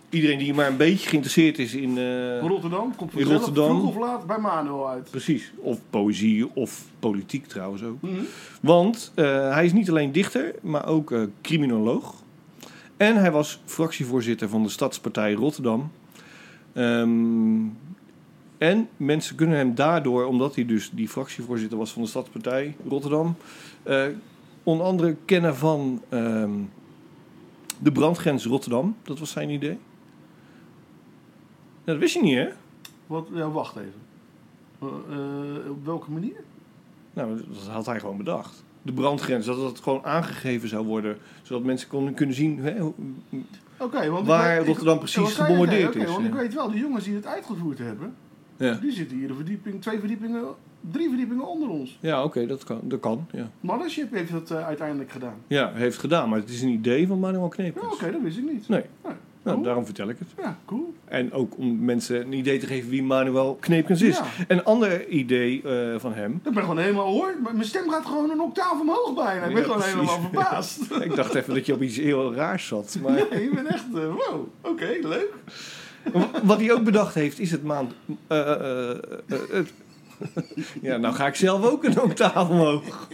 S6: Iedereen die maar een beetje geïnteresseerd is in, eh,
S7: Rotterdam komt
S6: In
S7: vanzelf
S6: Rotterdam.
S7: vroeg of laat bij Manuel uit.
S6: precies, of poëzie of politiek trouwens ook.
S7: Mhm.
S6: Want eh, hij is niet alleen dichter, maar ook eh, criminoloog. En hij was fractievoorzitter van de Stadspartij Rotterdam. Ehm, en mensen kunnen hem daardoor, omdat hij dus die fractievoorzitter was van de Stadspartij Rotterdam, eh, onder andere kennen van ehm, de brandgrens Rotterdam. Dat was zijn idee. Nou, dat wist je niet, hè?
S7: Wat, ja, wacht even. Eh, eh, op welke manier?
S6: Nou, dat had hij gewoon bedacht. De brandgrens, dat dat gewoon aangegeven zou worden. Zodat mensen konden kunnen zien hè, hoe-
S7: Oké, want ik
S6: Waar
S7: weet- ik-
S6: Rotterdam
S7: ja,
S6: precies
S7: waarschijnlijk- nee,
S6: gebombardeerd
S7: oké,
S6: is,
S7: Want ik
S6: ja.
S7: weet wel, de jongens die het uitgevoerd hebben,
S6: Ja,
S7: die zitten hier een verdieping, twee verdiepingen, drie verdiepingen onder ons.
S6: ja oké, dat kan. Dat kan ja.
S7: Mothership heeft dat eh, uiteindelijk gedaan.
S6: ja, heeft gedaan. Maar het is een idee van Manuel
S7: Ja,
S6: Kneepkens.
S7: Oh, oké, Oh. dat wist ik niet.
S6: Dus- Nee.
S7: Nee.
S6: Nou,
S7: Cool.
S6: daarom vertel ik het.
S7: Ja, cool.
S6: En ook om mensen een idee te geven wie Manuel Kneepkens is.
S7: Ja.
S6: Een ander idee eh, van hem.
S7: Ik ben gewoon helemaal hoor. Mijn stem gaat gewoon een octaaf omhoog bijna. Ik
S6: Ja,
S7: ben gewoon
S6: precies. (laughs)
S7: helemaal verbaasd.
S6: Ik dacht even dat je op iets heel raars zat. Maar
S7: Nee, ik ben echt, eh, wow, oké, leuk.
S6: wat hij ook bedacht heeft, is het maand. eh, eh, eh, eh, het- ja, nou ga ik zelf ook een octaaf omhoog.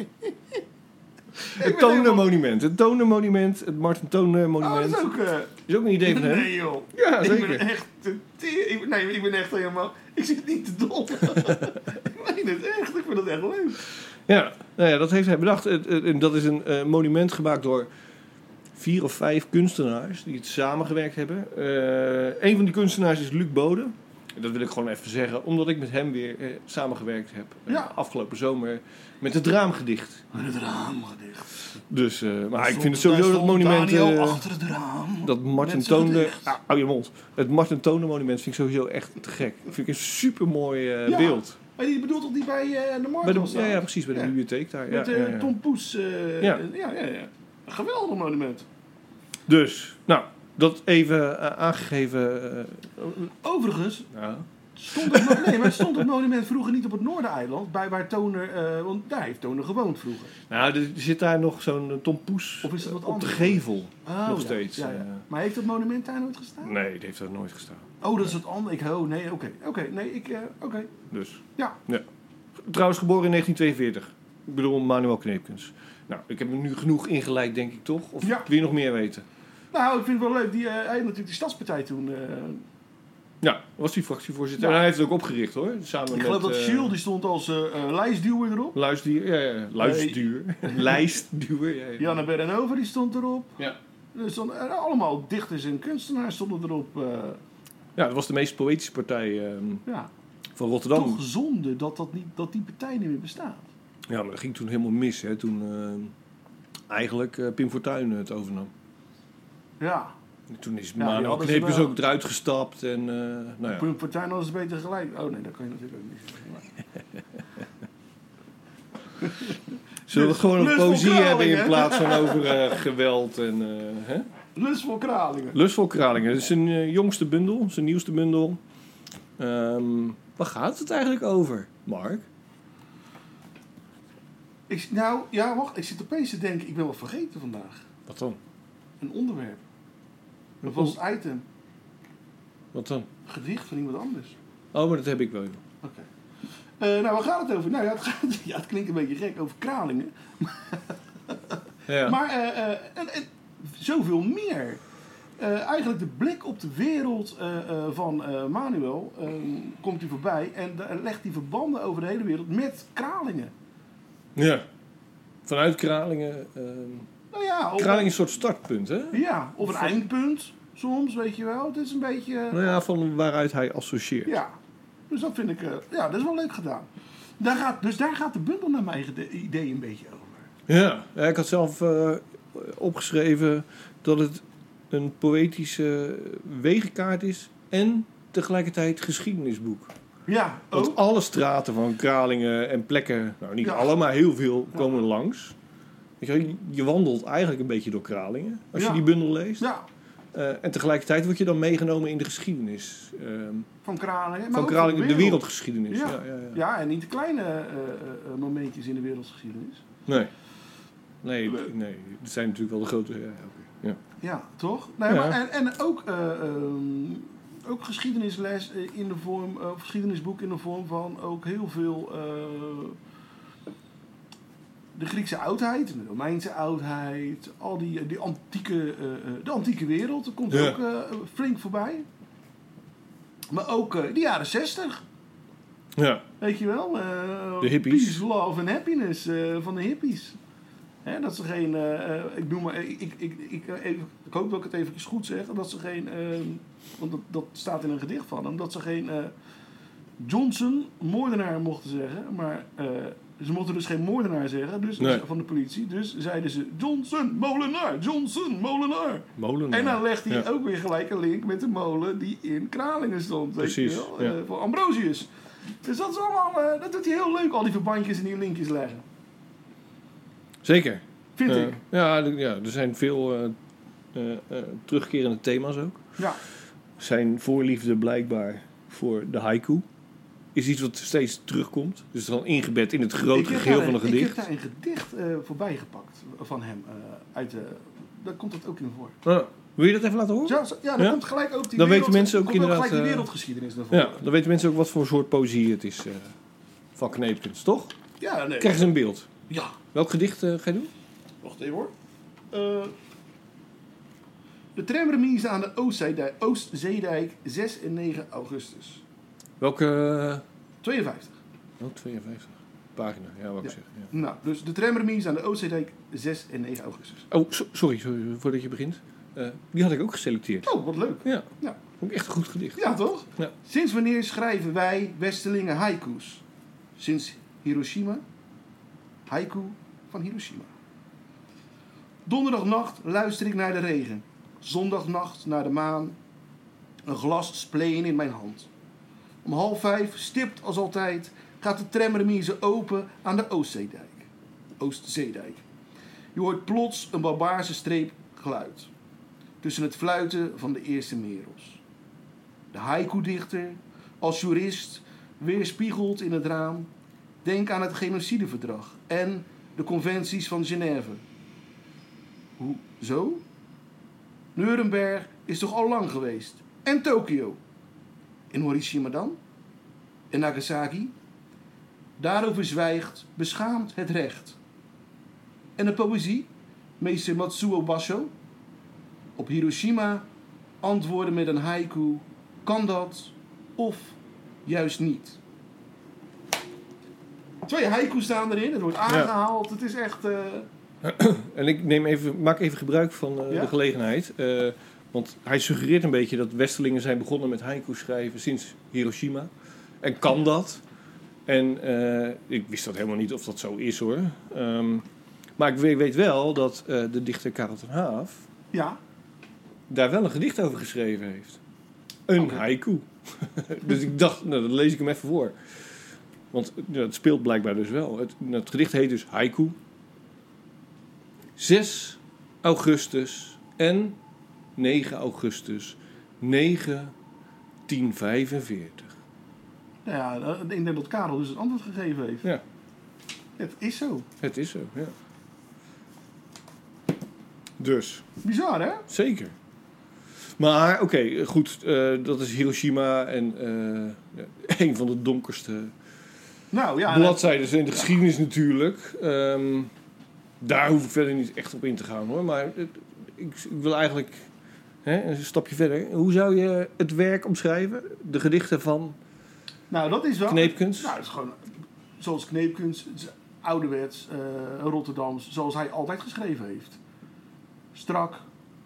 S6: Het Toner-monument. Het Toner-monument. Het Martin
S7: Oh, dat
S6: Toner-monument.
S7: is ook... eh,
S6: is ook een idee van hem.
S7: nee joh.
S6: Ja,
S7: Ik
S6: zeker.
S7: ben echt te teer- ik, Nee, ik ben echt helemaal... Ik zit niet te dol. (laughs) ik meen het echt. Ik vind het echt leuk.
S6: Ja, nou ja, dat heeft hij bedacht. Het- het- en dat is een eh, monument gemaakt door vier of vijf kunstenaars die het samengewerkt hebben. Eh een van die kunstenaars is Luc Bode. En Dat wil ik gewoon even zeggen, omdat ik met hem weer eh, samengewerkt heb. eh,
S7: Ja.
S6: afgelopen zomer met het raamgedicht.
S7: het raam gedicht.
S6: Dus, eh, maar ik vind het sowieso dat monument... eh,
S7: achter het raam.
S6: dat Martin
S7: Met zijn
S6: Toonde...
S7: gedicht.
S6: Ah, hou je mond. Het Martin Toonde monument vind ik sowieso echt te gek. Vind ik een supermooi eh,
S7: Ja.
S6: beeld.
S7: Maar je bedoelt toch die bij eh, de markt?
S6: Bij de,
S7: was
S6: ja,
S7: dat?
S6: ja, precies, bij de
S7: Ja.
S6: bibliotheek daar.
S7: Met
S6: ja,
S7: eh,
S6: ja, ja.
S7: Tom Poes. eh,
S6: Ja.
S7: ja. ja, ja, Een Geweldig monument.
S6: Dus, nou, dat even eh, aangegeven. eh, nou.
S7: Overigens,
S6: ja.
S7: stond het, mo- nee, maar stond het monument vroeger niet op het Noordereiland, bij waar Toner, eh, want daar heeft Toner gewoond vroger.
S6: Nou, er zit daar nog zo'n eh, Tom Poes
S7: Of is dat wat
S6: eh, op de
S7: anders?
S6: gevel.
S7: Oh,
S6: nog
S7: ja,
S6: steeds.
S7: Ja, ja.
S6: eh.
S7: Maar heeft dat monument daar nooit gestaan?
S6: nee, die heeft daar nooit gestaan.
S7: Oh, dat is het andere. Ik, oh, nee, oké. Oké, nee, ik, eh, oké.
S6: Dus.
S7: Ja.
S6: Trouwens, geboren in 1942. Ik bedoel, Manuel Kneepkens. Nou, ik heb hem nu genoeg ingeleid, denk ik toch? Of
S7: Ja.
S6: wil je nog meer weten?
S7: Nou, ik vind het wel leuk. Die, eh, hij heeft natuurlijk die stadspartij toen. eh,
S6: Ja, was hij fractievoorzitter.
S7: Ja.
S6: En hij heeft het ook opgericht hoor. Samen
S7: ik
S6: met.
S7: geloof dat
S6: eh,
S7: Jules, die stond als eh, eh, lijstduwer erop.
S6: Luisdier. Ja, ja, luisdier. (laughs) Lijstduwer. Ja, ja.
S7: Janne Berenhoven, die stond erop.
S6: Ja.
S7: Er stonden, eh, allemaal dichters en kunstenaars stonden erop. eh,
S6: ja, dat was de meest poëtische partij eh,
S7: ja.
S6: van Rotterdam.
S7: Toch zonde dat, dat, niet, dat die partij niet meer bestaat.
S6: Ja, maar dat ging toen helemaal mis, hè. Toen eh, eigenlijk eh, Pim Fortuyn het overnam.
S7: Ja,
S6: Toen is
S7: die
S6: Mano
S7: hadden ze
S6: Kneepjes
S7: wel.
S6: ook eruit gestapt en... eh, nou ja.
S7: Pim Fortuyn hadden ze beter gelijk. Oh nee, dat kan je natuurlijk ook niet zeggen. maar-
S6: Zullen we gewoon een
S7: lust voor
S6: poëzie
S7: kraling,
S6: hebben in
S7: hè?
S6: plaats van over eh, geweld en... eh hè?
S7: Lust voor Kralingen.
S6: Lust voor Kralingen. Dat is zijn eh, jongste bundel, zijn nieuwste bundel. Ehm, waar gaat het eigenlijk over, Mark?
S7: Ik, nou, ja, wacht. Ik zit opeens te denken, ik ben wel vergeten vandaag.
S6: Wat dan?
S7: Een onderwerp. Dat was
S6: Oh.
S7: het item.
S6: Wat dan?
S7: Gedicht van iemand anders.
S6: Oh, maar dat heb ik wel. joh.
S7: Oké. Eh, nou, waar gaat het over? Nou ja, het, gaat, (laughs) ja, het klinkt een beetje gek over Kralingen.
S6: Ja.
S7: Maar eh, eh, en, en zoveel meer. Eh, eigenlijk de blik op de wereld eh, eh, van eh, Manuel eh, komt hij voorbij en da- legt hij verbanden over de hele wereld met Kralingen.
S6: ja. Vanuit Kralingen. ehm
S7: Nou ja, of,
S6: Kralingen is een soort startpunt, hè?
S7: ja, of een eindpunt soms, weet je wel. Het is een beetje. eh,
S6: Nou ja, van waaruit hij associeert.
S7: ja, dus dat vind ik. eh, ja, dat is wel leuk gedaan. Daar gaat, dus daar gaat de bundel naar mijn gede- idee een beetje over.
S6: Ja, ja, ik had zelf eh, opgeschreven dat het een poëtische wegenkaart is en tegelijkertijd geschiedenisboek.
S7: Ja,
S6: Want
S7: ook.
S6: alle straten van Kralingen en plekken, nou niet
S7: Oh. Ja.
S6: alle, maar heel veel komen langs. Weet je, wel, je wandelt eigenlijk een beetje door Kralingen als je
S7: Ja.
S6: die bundel leest.
S7: Ja,
S6: Eh, en tegelijkertijd word je dan meegenomen in de geschiedenis. ehm,
S7: van Kralingen. maar
S6: van
S7: ook
S6: Kralingen, de,
S7: van
S6: wereldgeschiedenis. Ja.
S7: Ja.
S6: Ja, ja,
S7: Ja, en niet de kleine eh, eh, eh, momentjes in de wereldgeschiedenis.
S6: Nee. Nee, nee, het zijn natuurlijk wel de grote. Ja, oké. ja.
S7: Ja, toch? Nee,
S6: Ja.
S7: maar, en, en ook, eh, ehm, ook geschiedenisles eh, in de vorm, eh, of geschiedenisboek in de vorm van ook heel veel eh, de Griekse oudheid, de Romeinse oudheid, al die, die antieke, eh, eh, de antieke wereld, dat komt
S6: Ja.
S7: ook eh, flink voorbij. Maar ook eh, de jaren zestig,
S6: ja.
S7: weet je wel. eh,
S6: De hippies.
S7: Peace, love and happiness eh, van de hippies. Hè, dat ze geen, eh, eh, ik noem maar, ik, ik, ik, ik, eh, even- ik hoop dat ik het ehm, even goed zeg, dat ze geen, eh, want dat, dat staat in een gedicht van hem, dat ze geen eh, Johnson moordenaar mochten zeggen, maar eh, ze mochten dus geen moordenaar zeggen dus,
S6: Nee.
S7: van de politie. Dus zeiden ze Johnson, molenaar, Johnson, molenaar.
S6: Molen.
S7: En nou- dan legt hij
S6: Ja.
S7: ook weer gelijk een link met de molen die in Kralingen stond. Weet
S6: Precies,
S7: je wel, eh,
S6: ja.
S7: voor Ambrosius. Dus dat is allemaal, eh, dat doet hij heel leuk, al die verbandjes en die linkjes leggen.
S6: Zeker.
S7: Vind
S6: Eh,
S7: ik.
S6: ja, d- ja, er zijn veel eh, eh, eh, terugkerende thema's ook.
S7: Ja.
S6: Zijn voorliefde blijkbaar voor de haiku is iets wat steeds terugkomt. Dus dan ingebed in het grote
S7: Ik heb
S6: geheel
S7: daar
S6: van een
S7: Ik heb
S6: gedicht.
S7: daar een gedicht eh, voorbij gepakt van hem. eh, uit de, daar komt dat ook in voor.
S6: Ah, wil je dat even laten horen?
S7: Ja, zo- ja, dan
S6: Ja?
S7: komt gelijk ook die
S6: Dan weten
S7: wereld-
S6: mensen ook
S7: komt
S6: inderdaad,
S7: gelijk die
S6: eh,
S7: wereldgeschiedenis naar
S6: Ja,
S7: voren.
S6: dan weten mensen ook wat voor soort poëzie het is eh, van Kneepkens, toch?
S7: Ja, nee.
S6: Krijgen ze een beeld.
S7: Ja,
S6: Welk gedicht eh, ga je doen?
S7: wacht even hoor. Eh, de tramremise aan de Oostzeedijk, Oostzeedijk 6 en 9 augustus.
S6: Welke... eh,
S7: 52.
S6: Oh, 52. Pagina, ja, wat ik
S7: Ja.
S6: zeg. Ja.
S7: Nou, dus de tramremise aan de Oostzeedijk 6 en 9 augustus.
S6: Oh, so- sorry, sorry, voordat je begint. Eh, die had ik ook geselecteerd.
S7: Oh, wat leuk.
S6: Ja,
S7: Ja.
S6: vond ik echt een goed gedicht.
S7: Ja, toch?
S6: Ja.
S7: Sinds wanneer schrijven wij Westelingen haiku's? Sinds Hiroshima. Haiku van Hiroshima. Donderdagnacht luister ik naar de regen. Zondagnacht naar de maan. Een glas spleen in mijn hand. Om half vijf, stipt als altijd, gaat de tramremise open aan de Oostzeedijk. Oostzeedijk. Je hoort plots een barbaarse streep geluid. Tussen het fluiten van de eerste merels. De haiku-dichter, als jurist, weerspiegelt in het raam. Denk aan het genocideverdrag en de conventies van Genève. Hoe zo? Nuremberg is toch al lang geweest? En Tokio? En Horishima dan? En Nagasaki? Daarover zwijgt beschaamd het recht. En de poëzie? Meester Matsuo Basho? Op Hiroshima antwoorden met een haiku kan dat of juist niet? Twee haiku's staan erin, het wordt aangehaald. Het is echt. eh,
S6: En ik neem even, maak even gebruik van eh,
S7: Ja?
S6: de gelegenheid. eh, want hij suggereert een beetje dat Westelingen zijn begonnen met haiku schrijven sinds Hiroshima. En kan dat? En eh, ik wist dat helemaal niet of dat zo is hoor. Ehm, maar ik we- weet wel dat eh, de dichter Karel ten Haaf
S7: ja,
S6: daar wel een gedicht over geschreven heeft. Een
S7: Oké.
S6: haiku. (laughs) dus ik dacht, nou, dan lees ik hem even voor. Want ja, het speelt blijkbaar dus wel. Het, nou, het gedicht heet dus Haiku. 6 augustus en 9 augustus 9 1045.
S7: nou ja, eh, ik denk dat Karel dus het antwoord gegeven heeft.
S6: Ja.
S7: Het is zo.
S6: Het is zo, ja. Dus.
S7: Bizar, hè?
S6: Zeker. Maar oké, goed. eh, dat is Hiroshima en eh, ja, (laughs) een van de donkerste
S7: Nou ja,
S6: bladzijden in de geschiedenis natuurlijk. Ehm, daar hoef ik verder niet echt op in te gaan hoor. Maar het- ik, ik wil eigenlijk hè, een stapje verder. Hoe zou je het werk omschrijven? De gedichten van
S7: nou dat is wel.
S6: Kneepkunst?
S7: Nou, het is gewoon zoals kneepkunst, het is ouderwets, eh, Rotterdams, zoals hij altijd geschreven heeft. Strak.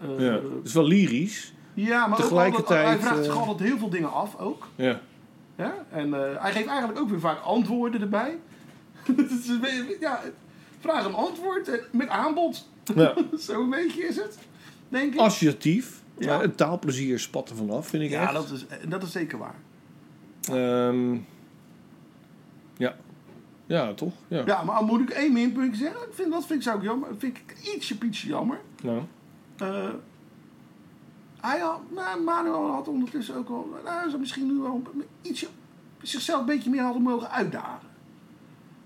S7: eh,
S6: Ja, het is wel lyrisch.
S7: ja, maar ook altijd,
S6: Tegelijkertijd,
S7: hij vraagt
S6: eh,
S7: zich altijd heel veel dingen af ook.
S6: Ja.
S7: Ja? En eh, hij geeft eigenlijk ook weer vaak antwoorden erbij. (laughs) Het is een beetje- ja, vraag een antwoord eh, met aanbod. (laughs)
S6: Ja.
S7: Zo'n beetje is het, denk ik.
S6: Associatief.
S7: Ja.
S6: Maar het taalplezier spat er vanaf, vind ik
S7: ja,
S6: echt.
S7: dat is, eh, dat is zeker waar.
S6: Ehm, ja. Ja, toch? Ja.
S7: Ja, maar al moet ik één minpuntje zeggen? Ik vind, dat vind ik zou ik jammer. Dat vind ik ietsje pietje jammer.
S6: Nou.
S7: Eh, hij had, nou, Manuel had ondertussen ook al... Nou, hij zou misschien nu wel een- ietsje, zichzelf een beetje meer hadden mogen uitdagen.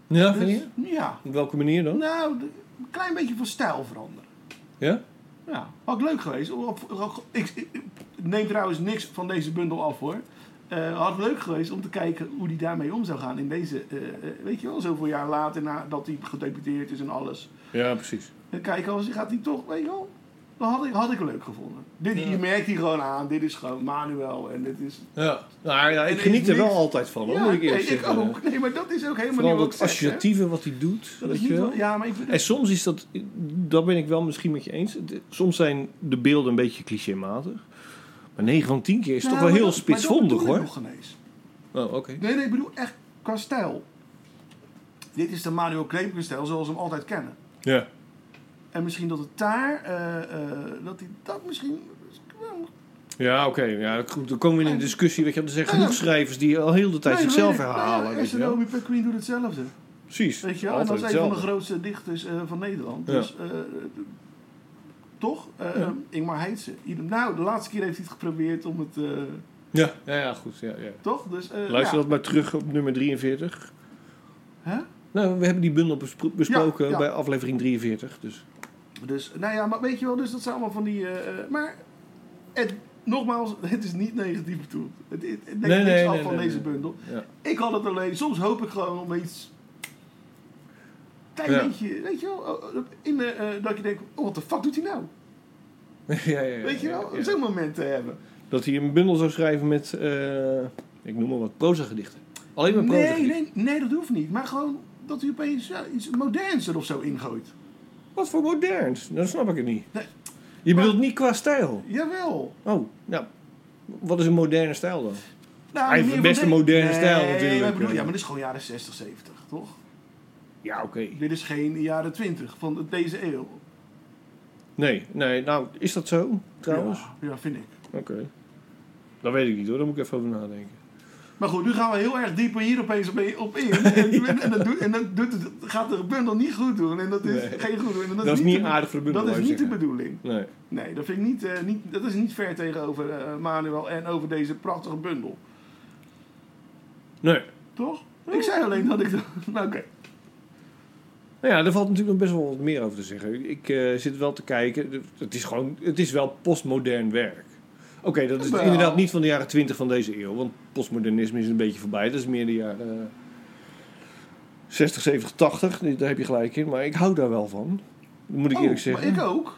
S6: Ja, vind
S7: Dus,
S6: je?
S7: ja.
S6: Op welke manier dan?
S7: Nou, de- een klein beetje van stijl veranderen.
S6: Ja?
S7: Ja, had leuk geweest. Om op- Ik, ik- ik neem trouwens niks van deze bundel af hoor. Eh had leuk geweest om te kijken hoe die daarmee om zou gaan in deze, eh, eh, weet je wel, zoveel jaar later nadat hij gedeputeerd is en alles.
S6: Ja, precies.
S7: En kijken als hij gaat hij toch, weet je wel. Dat had ik, had ik leuk gevonden. Dit, Je merkt hier gewoon aan, dit is gewoon Manuel en dit is...
S6: Ja. Nou ja, ik
S7: En
S6: geniet
S7: is
S6: er wel
S7: niks-
S6: altijd van, hoor,
S7: Ja,
S6: moet ik eerlijk
S7: nee, ik
S6: zeggen.
S7: ook. Nee, maar dat is ook helemaal
S6: Vooral
S7: niet
S6: dat
S7: wat ik zeg, hè.
S6: associatieve wat hij doet.
S7: Dat
S6: weet
S7: is
S6: je
S7: niet
S6: wel.
S7: wat- Ja, maar ik bedoel...
S6: En soms is dat, daar ben ik wel misschien met je eens. Het- Soms zijn de beelden een beetje clichématig. Maar 9 van 10 keer is
S7: Nou,
S6: toch wel
S7: maar
S6: heel
S7: dat- maar dat
S6: spitsvondig
S7: bedoel ik
S6: hoor.
S7: nog ineens.
S6: Oh, oké.
S7: Nee, nee, ik bedoel echt qua stijl. Dit is de Mario Kremke stijl zoals we hem altijd kennen.
S6: Ja.
S7: En misschien dat het daar, eh, eh, dat hij dat misschien...
S6: Ja, oké. Ja, goed, dan komen we in een discussie. Weet je, er zijn genoeg schrijvers die al heel de tijd
S7: Nee,
S6: zichzelf
S7: nee,
S6: herhalen.
S7: nee,
S6: weet je wel.
S7: Esenobi Pequeen doet hetzelfde.
S6: Precies.
S7: Weet je wel? En
S6: Altijd
S7: dat is een van de
S6: hetzelfde.
S7: grootste dichters eh, van Nederland.
S6: Ja.
S7: Dus, eh, toch? Eh, Ingmar Heitse. Ieder- Nou, de laatste keer heeft hij het geprobeerd om het... eh,
S6: Ja, ja, ja goed. Ja, ja.
S7: toch? Dus, eh,
S6: Luister
S7: ja.
S6: dat maar terug op nummer 43.
S7: Hè?
S6: Nou, we hebben die bundel bespro- besproken
S7: Ja, ja.
S6: bij aflevering 43.
S7: (laughs)
S6: Dus.
S7: Dus, nou ja, maar weet je wel, dus dat zijn allemaal van die... eh, eh, maar, het, nogmaals, (laughs) het is niet negatief bedoeld. Het, het, het neemt
S6: Nee,
S7: niks
S6: nee,
S7: af
S6: nee,
S7: van
S6: nee,
S7: deze
S6: nee.
S7: bundel.
S6: Ja.
S7: Ik had het alleen, soms hoop ik gewoon om iets... Klein
S6: Ja.
S7: beetje, weet je wel, oh, oh, in de, eh, dat je denkt, oh, wat de fuck doet hij nou?
S6: ja, ja, ja,
S7: Weet je
S6: ja,
S7: wel,
S6: ja.
S7: zo'n moment te hebben.
S6: Dat hij een bundel zou schrijven met, eh, ik noem maar wat, prozagedichten. Alleen maar proza
S7: nee, nee, nee, dat hoeft niet. Maar gewoon dat u opeens ja, iets moderns er of zo ingooit.
S6: Wat voor moderns? Dan snap ik het niet.
S7: Nee.
S6: Je bedoelt niet qua stijl.
S7: Jawel.
S6: Oh, nou, wat is een moderne stijl dan?
S7: Nou,
S6: Hij heeft
S7: meer
S6: best
S7: van
S6: een
S7: de-
S6: moderne
S7: Nee,
S6: stijl
S7: maar
S6: natuurlijk,
S7: ik bedoel,
S6: ja.
S7: ja, maar dit is gewoon jaren 60, 70, toch?
S6: Ja, oké.
S7: Dit is geen jaren 20 van deze eeuw.
S6: Nee, nee, nou, is dat zo trouwens?
S7: Ja, ja, vind ik.
S6: Oké. Dat weet ik niet hoor, daar moet ik even over nadenken.
S7: Maar goed, nu gaan we heel erg dieper hier opeens op in.
S6: (laughs)
S7: op in. En, en dat, doet, en dat doet het, gaat de bundel niet goed doen. En dat is
S6: Nee.
S7: geen goed doen. En
S6: Dat is niet
S7: de-
S6: aardig voor de bundel,
S7: Dat
S6: wou
S7: is
S6: je
S7: niet de
S6: zeggen.
S7: bedoeling.
S6: Nee.
S7: Nee, dat vind ik niet, eh, niet, dat is niet ver tegenover eh, Manuel en over deze prachtige bundel.
S6: Nee.
S7: Toch? Ik zei alleen dat ik... dat- (laughs) Nou, oké.
S6: Nou ja, er valt natuurlijk nog best wel wat meer over te zeggen. Ik eh, zit wel te kijken. Het is gewoon, het is wel postmodern werk. Oké, dat is
S7: Wel.
S6: inderdaad niet van de jaren 20 van deze eeuw. Want postmodernisme is een beetje voorbij. Dat is meer de jaren eh, 60, 70, 80. Daar heb je gelijk in. Maar ik hou daar wel van. Dat moet ik
S7: Oh,
S6: eerlijk zeggen.
S7: Maar ik ook.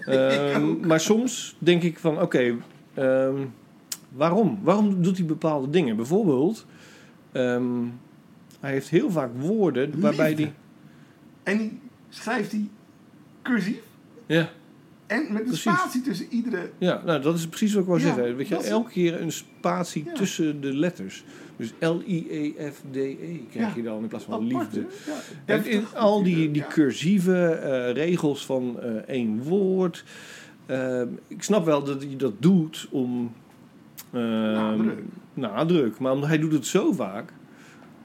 S6: Ehm, maar soms denk ik van, oké, ehm, waarom? Waarom doet hij bepaalde dingen? Bijvoorbeeld, ehm, hij heeft heel vaak woorden waarbij
S7: Liefde.
S6: die...
S7: En die schrijft hij cursief.
S6: Ja,
S7: En met een
S6: Precies.
S7: spatie tussen iedere...
S6: ja, nou dat is precies wat ik wou
S7: Ja,
S6: zeggen. Weet je,
S7: dat is-
S6: elke keer een spatie
S7: Ja.
S6: tussen de letters. Dus L-I-E-F-D-E E krijg
S7: Ja.
S6: je dan in plaats van
S7: Apart,
S6: liefde.
S7: hè? Ja,
S6: En in
S7: heftig.
S6: al die, die
S7: Ja.
S6: cursieve eh, regels van eh, één woord. Ehm, ik snap wel dat hij dat doet om... ehm,
S7: Nadruk.
S6: nadruk. Maar omdat hij doet het zo vaak.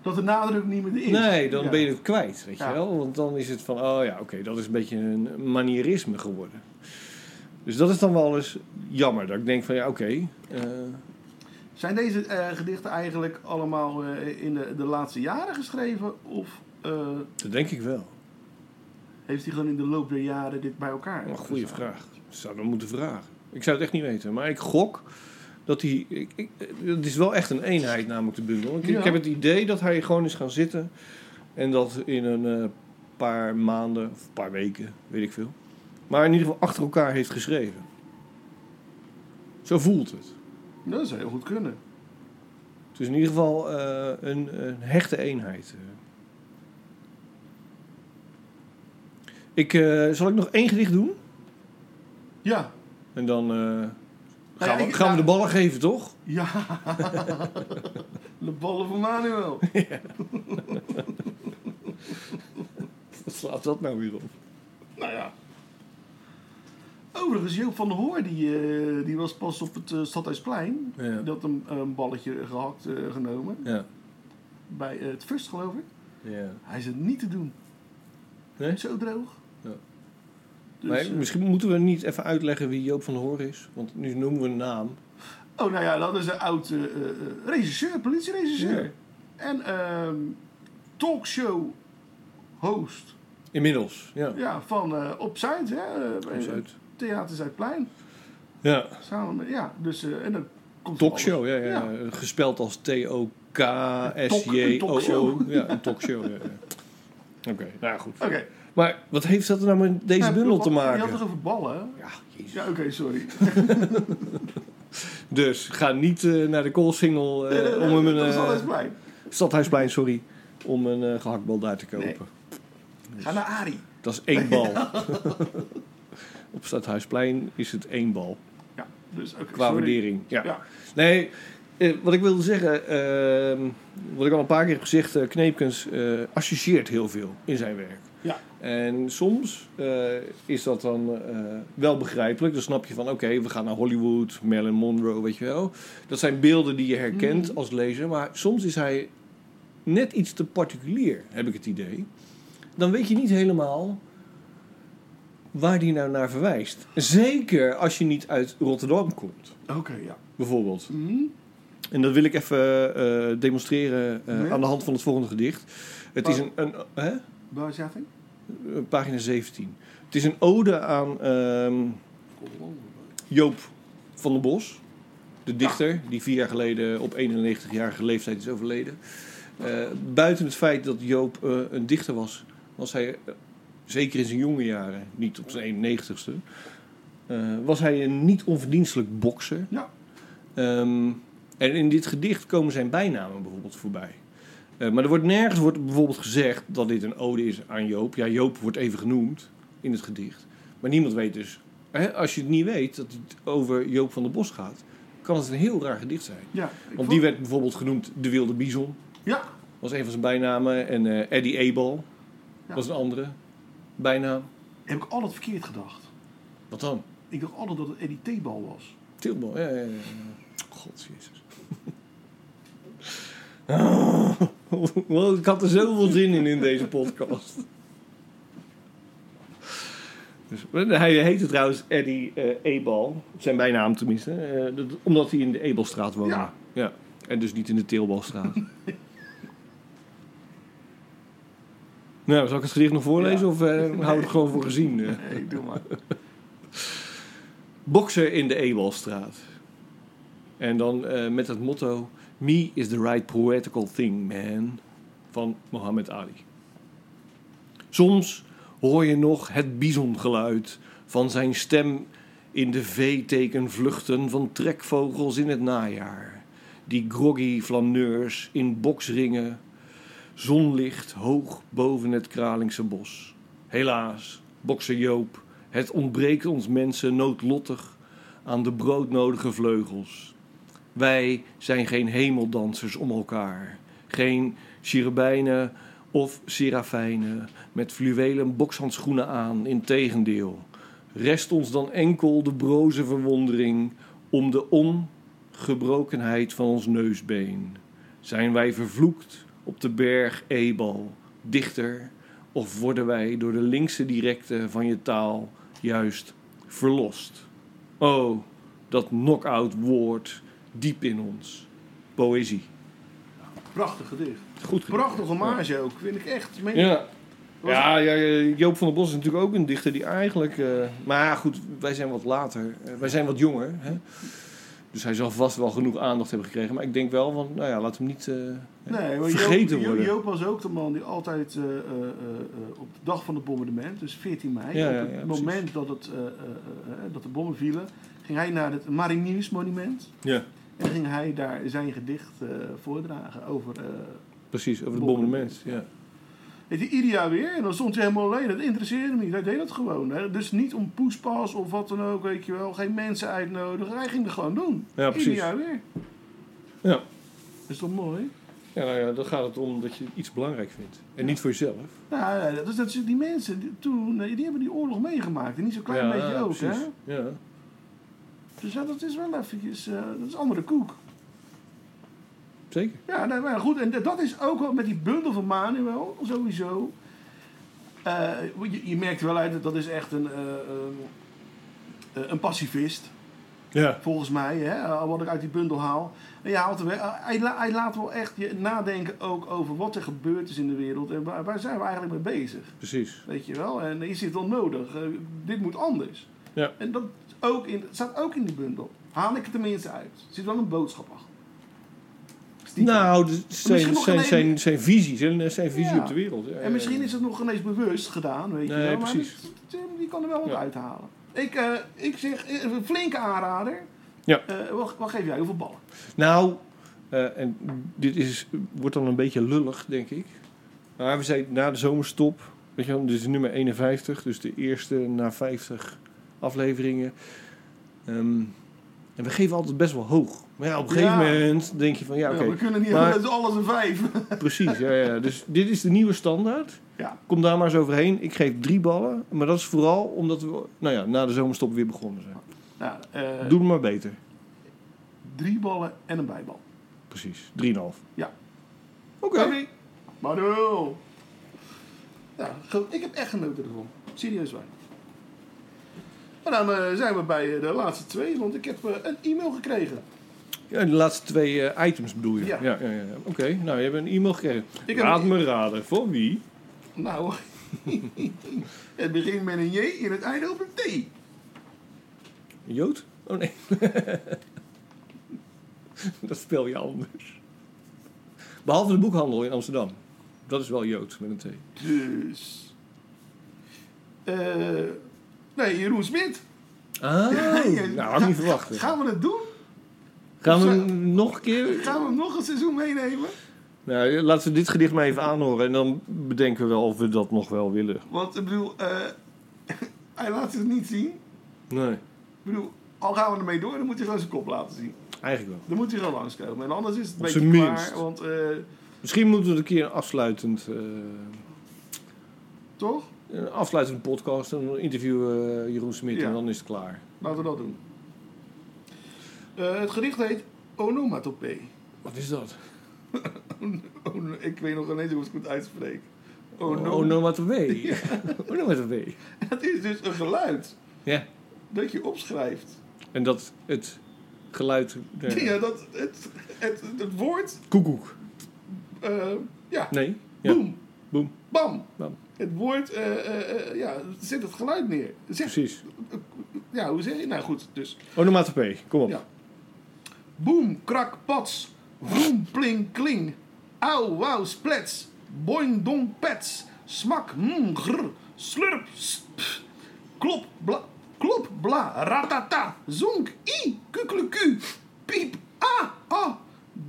S7: Dat de nadruk niet meer is.
S6: Nee, dan
S7: Ja.
S6: ben je het kwijt, weet je
S7: Ja.
S6: wel. Want dan is het van, oh ja, oké, dat is een beetje een manierisme geworden. Dus dat is dan wel eens jammer. Dat ik denk van, ja, oké. eh,
S7: Zijn deze eh, gedichten eigenlijk allemaal eh, in de, de laatste jaren geschreven? Of eh,
S6: dat denk ik wel.
S7: heeft hij gewoon in de loop der jaren dit bij elkaar?
S6: Een goede
S7: gezet?
S6: vraag. Zou dan moeten vragen. Ik zou het echt niet weten. Maar ik gok dat hij... Ik, ik- het is wel echt een eenheid namelijk, de bundel. Ik, ik
S7: Ja.
S6: heb het idee dat hij gewoon is gaan zitten. En dat in een eh, paar maanden, of een paar weken, weet ik veel. Maar in ieder geval achter elkaar heeft geschreven. Zo voelt het.
S7: Dat zou heel goed kunnen.
S6: Het is in ieder geval eh, een, een hechte eenheid. eh. Ik, eh, zal ik nog één gedicht doen?
S7: Ja.
S6: En dan eh,
S7: ja,
S6: gaan, we,
S7: ik-
S6: gaan we de
S7: nou-
S6: ballen geven, toch?
S7: Ja. (laughs) de ballen van Manuel.
S6: Wat slaat dat nou weer op?
S7: Nou ja. Overigens, Joop van der Hoor, die, eh, die was pas op het eh, Stadhuisplein.
S6: Ja.
S7: Die had een, een balletje gehakt eh, genomen.
S6: Ja.
S7: Bij eh, het Fust, geloof ik.
S6: ja.
S7: Hij is het niet te doen.
S6: Nee?
S7: Zo droog.
S6: Ja.
S7: Dus,
S6: Nee,
S7: eh,
S6: misschien moeten we niet even uitleggen wie Joop van der Hoor is. Want nu noemen we een naam.
S7: oh, nou ja, dat is een oud eh, eh, eh, regisseur, politieregisseur.
S6: Ja.
S7: En ehm, talkshow host
S6: Inmiddels, ja.
S7: ja, van eh Op Zuid, hè? eh, bij
S6: Op Zuid.
S7: Theater Zuidplein.
S6: Ja,
S7: Samen met, ja, dus, eh, en dan komt
S6: talkshow, ja,
S7: alles.
S6: ja. Gespeld als
S7: Een talk- een
S6: T-O-K-S-J-O-O.
S7: talkshow.
S6: Ja, een talkshow, ja. ja. Oké, nou ja, goed.
S7: Oké.
S6: Maar wat heeft dat nou met deze
S7: Nou,
S6: bundel te
S7: Je had
S6: maken?
S7: het over ballen?
S6: Ja, jezus.
S7: Ja,
S6: (laughs)
S7: oké, sorry.
S6: Dus ga niet eh, naar de koolsingel eh, om hem een
S7: dat is
S6: eh,
S7: alles blij.
S6: stadhuisplein, sorry, om een eh, gehaktbal daar te kopen.
S7: Nee.
S6: dus
S7: Ga naar Ari.
S6: Dat is één bal. (laughs) Op stadhuisplein is het één bal
S7: Ja, dus oké.
S6: qua
S7: sorry.
S6: waardering. Ja.
S7: Ja.
S6: Nee, Eh, wat ik wilde zeggen, ehm, wat ik al een paar keer heb gezegd, eh, Kneepkens eh, associeert heel veel in zijn werk.
S7: Ja.
S6: En soms eh, is dat dan eh, wel begrijpelijk. Dan snap je van, oké, we gaan naar Hollywood, Marilyn Monroe, weet je wel. Dat zijn beelden die je herkent als lezer. Maar soms is hij net iets te particulier, heb ik het idee. Dan weet je niet helemaal waar die nou naar verwijst. Zeker als je niet uit Rotterdam komt,
S7: Oké, ja.
S6: bijvoorbeeld.
S7: Mhm.
S6: En dat wil ik even eh, demonstreren eh,
S7: Ja.
S6: aan de hand van het volgende gedicht. Het is een, een, hè?
S7: Waar is jouw ding?
S6: Eh, pagina 17. Het is een ode aan ehm, Joop van den Bos. De dichter die vier jaar geleden op 91-jarige leeftijd is overleden. Eh, buiten het feit dat Joop eh, een dichter was, was hij, eh, zeker in zijn jonge jaren, niet op zijn 91ste, eh, was hij een niet onverdienstelijk bokser.
S7: Ja.
S6: Ehm, en in dit gedicht komen zijn bijnamen bijvoorbeeld voorbij. Eh, maar er wordt nergens wordt bijvoorbeeld gezegd dat dit een ode is aan Joop. Ja, Joop wordt even genoemd in het gedicht. Maar niemand weet dus, hè, als je het niet weet dat het over Joop van der Bos gaat, kan het een heel raar gedicht zijn.
S7: ja ik
S6: Want
S7: vond-
S6: die werd bijvoorbeeld genoemd De Wilde Bison,
S7: Ja,
S6: was een van zijn bijnamen. En eh Eddie Ebal
S7: Ja.
S6: was een andere bijnaam.
S7: heb ik altijd verkeerd gedacht.
S6: Wat dan?
S7: Ik dacht altijd dat het Eddie T-bal was.
S6: Tilbal, ja, ja, ja, ja. God, (laughs) jezus. Wow, ik had er zoveel zin in in deze podcast. Dus, hij heette trouwens Eddie eh, Ebal, zijn bijnaam tenminste, eh, dat- omdat hij in de Ebalstraat woonde.
S7: Ja.
S6: ja. En dus niet in de (laughs) Teelbalstraat. nou, zal ik het gedicht nog voorlezen of eh houden we het gewoon voor gezien? eh?
S7: Nee, doe
S6: (laughs)
S7: maar.
S6: Bokser in de Ewalstraat. En dan eh, met het motto: Me is the right poetical thing, man. Van Mohammed Ali. Soms hoor je nog het bisongeluid van zijn stem in de V-teken vluchten van trekvogels in het najaar. Die groggy flaneurs in boksringen, zonlicht hoog boven het Kralingse bos. Helaas, bokser Joop, het ontbreekt ons mensen noodlottig aan de broodnodige vleugels. Wij zijn geen hemeldansers om elkaar, geen cherubijnen of serafijnen met fluwelen bokshandschoenen aan, integendeel. Rest ons dan enkel de broze verwondering om de ongebrokenheid van ons neusbeen. Zijn wij vervloekt op de berg Ebal, dichter, of worden wij door de linkse directe van je taal juist verlost? Oh, dat knock-out woord diep in ons. Poëzie.
S7: Prachtig gedicht.
S6: Goed gedaan.
S7: Prachtig hommage ook, vind ik echt. Meen-
S6: Ja. Ja, ja, ja, Joop van der Bos is natuurlijk ook een dichter die eigenlijk... eh, maar ja, goed, wij zijn wat later. eh, wij zijn wat jonger. Hè? Dus hij zal vast wel genoeg aandacht hebben gekregen. Maar ik denk wel van, nou ja, laat hem niet eh,
S7: Nee, maar
S6: vergeten
S7: Joop,
S6: worden.
S7: Joop was ook de man die altijd eh, eh, eh, eh, op de dag van het bombardement, dus 14 mei,
S6: Ja,
S7: op
S6: ja,
S7: het
S6: ja, precies.
S7: moment dat, het, eh, eh, eh, eh, dat de bommen vielen, ging hij naar het Mariniersmonument
S6: Ja,
S7: en ging hij daar zijn gedicht eh, voordragen over... eh
S6: precies. Over het
S7: Bombardement.
S6: bombardement. Ja.
S7: Weet je, ieder jaar weer. En dan stond hij helemaal alleen. Dat interesseerde me niet. Hij deed dat gewoon. Hè. Dus niet om poespas of wat dan ook, weet je wel. Geen mensen uitnodigen. Hij ging het gewoon doen.
S6: Ja, precies.
S7: Ieder jaar weer.
S6: Ja.
S7: Dat is toch mooi?
S6: Ja, nou ja, dan gaat het om dat je iets belangrijk vindt. En niet voor jezelf.
S7: Nou, ja, dat is dat ze- die mensen die, toen, eh, die hebben die oorlog meegemaakt. En niet zo'n klein
S6: ja,
S7: beetje ook,
S6: precies.
S7: hè?
S6: Ja.
S7: Dus ja, dat is wel eventjes, eh, dat is andere koek.
S6: Zeker.
S7: Ja, nee, maar goed, en dat is ook wel met die bundel van Manuel, sowieso. Eh, je, je merkt wel uit, dat dat is echt een, eh, eh, een pacifist,
S6: Ja.
S7: volgens mij, hè, eh, wat ik uit die bundel haal. En je haalt er wel, eh, hij, la- hij laat wel echt je nadenken ook over wat er gebeurd is in de wereld en waar, waar zijn we eigenlijk mee bezig.
S6: Precies.
S7: Weet je wel? En is dit dan nodig? Eh, dit moet anders.
S6: Ja.
S7: En dat ook in, het staat ook in die bundel. Haal ik het tenminste uit. Er zit wel een boodschap achter. Stiekem.
S6: Nou, dus zijn,
S7: misschien nog
S6: zijn,
S7: een-
S6: zijn, zijn visie. Zijn, zijn visie
S7: Ja.
S6: op de wereld. Ja,
S7: en misschien is het nog ineens bewust gedaan, weet je
S6: eh, Nee,
S7: wel.
S6: precies.
S7: Maar dat- dat- die kan er wel wat
S6: Ja.
S7: uithalen. Ik, eh, ik zeg, eh, een flinke aanrader.
S6: Ja.
S7: Eh, wat, wat geef jij? Hoeveel ballen?
S6: Nou, eh, en dit is, wordt dan een beetje lullig, denk ik. Maar we zijn na de zomerstop. Weet je wel, dit is nummer 51. Dus de eerste na 50 afleveringen. Ehm, en we geven altijd best wel hoog. Maar ja, op een gegeven
S7: Ja.
S6: moment denk je van ja, oké.
S7: Ja, we kunnen niet
S6: Maar-
S7: dat is (laughs) alles een vijf.
S6: Precies, ja, ja. Dus dit is de nieuwe standaard.
S7: Ja.
S6: Kom daar maar eens overheen. Ik geef drie ballen. Maar dat is vooral omdat we nou ja, na de zomerstop weer begonnen zijn.
S7: nou, eh,
S6: Doe het maar beter.
S7: Drie ballen en een bijbal.
S6: Precies. 3,5.
S7: Ja.
S6: Oké.
S7: Manu! Ja, ge- ik heb echt genoten ervan. Serieus waar. Maar dan eh, zijn we bij eh, de laatste twee, want ik heb eh, een e-mail gekregen.
S6: Ja, de laatste twee eh, items bedoel je.
S7: Ja.
S6: ja, ja, ja. Oké, nou je hebt een e-mail gekregen.
S7: Ik heb
S6: Laat
S7: een- e-
S6: me raden, voor wie?
S7: Nou, (laughs) het begint met een J en het einde op een T.
S6: Een Jood? Oh nee. (laughs) dat speel je anders. Behalve de boekhandel in Amsterdam. Dat is wel Jood met een T.
S7: Dus. eh, nee, Jeroen Smit.
S6: Ah, nou had ik niet verwacht. hè.
S7: Gaan we dat doen?
S6: Gaan we
S7: Zo-
S6: hem nog een keer?
S7: Gaan we hem nog een seizoen meenemen?
S6: Nou, laten we dit gedicht maar even aanhoren en dan bedenken we wel of we dat nog wel willen.
S7: Want ik bedoel, eh, (laughs) hij laat het niet zien.
S6: Nee,
S7: Ik bedoel, al gaan we ermee door, dan moet hij gewoon zijn kop laten zien.
S6: eigenlijk wel.
S7: Dan moet hij gewoon langskomen. En anders is het een
S6: Op
S7: beetje
S6: zijn
S7: klaar.
S6: minst.
S7: Want, eh,
S6: Misschien moeten we het een keer een afsluitend, eh,
S7: toch?
S6: een afsluitend podcast en dan interviewen we eh, Jeroen Smit
S7: Ja.
S6: en dan is het klaar.
S7: Laten we dat doen. Eh, het gedicht heet Onomatopee. (laughs)
S6: Wat is dat?
S7: Ono- ik weet nog niet hoe ik het goed uitspreek.
S6: Oh,
S7: Ono. (laughs)
S6: Onomatopee. Oh, Onomatopee.
S7: Het is dus een geluid
S6: Ja,
S7: dat je opschrijft. (laughs)
S6: en dat het geluid...
S7: Ja,
S6: eh,
S7: dat, het, het, het woord,
S6: Koekoek.
S7: eh, ja,
S6: Nee? Ja.
S7: boem,
S6: Boem.
S7: bam.
S6: Bam.
S7: Het woord, eh, eh, eh, ja, zet het geluid neer. Zeg,
S6: Precies. Oh,
S7: ja, hoe zeg je? Nou goed, dus
S6: Onomatopee, kom op.
S7: Ja. Boem, krak, pats. Vroom, pling, kling. Auw, wauw, splets. Boing, dong, pets. Smak, mm, grr. Slurp, s- pff. Klop, bla. Klop, bla. Ratata. Zonk, i. Kukkeleku. Piep, a, a.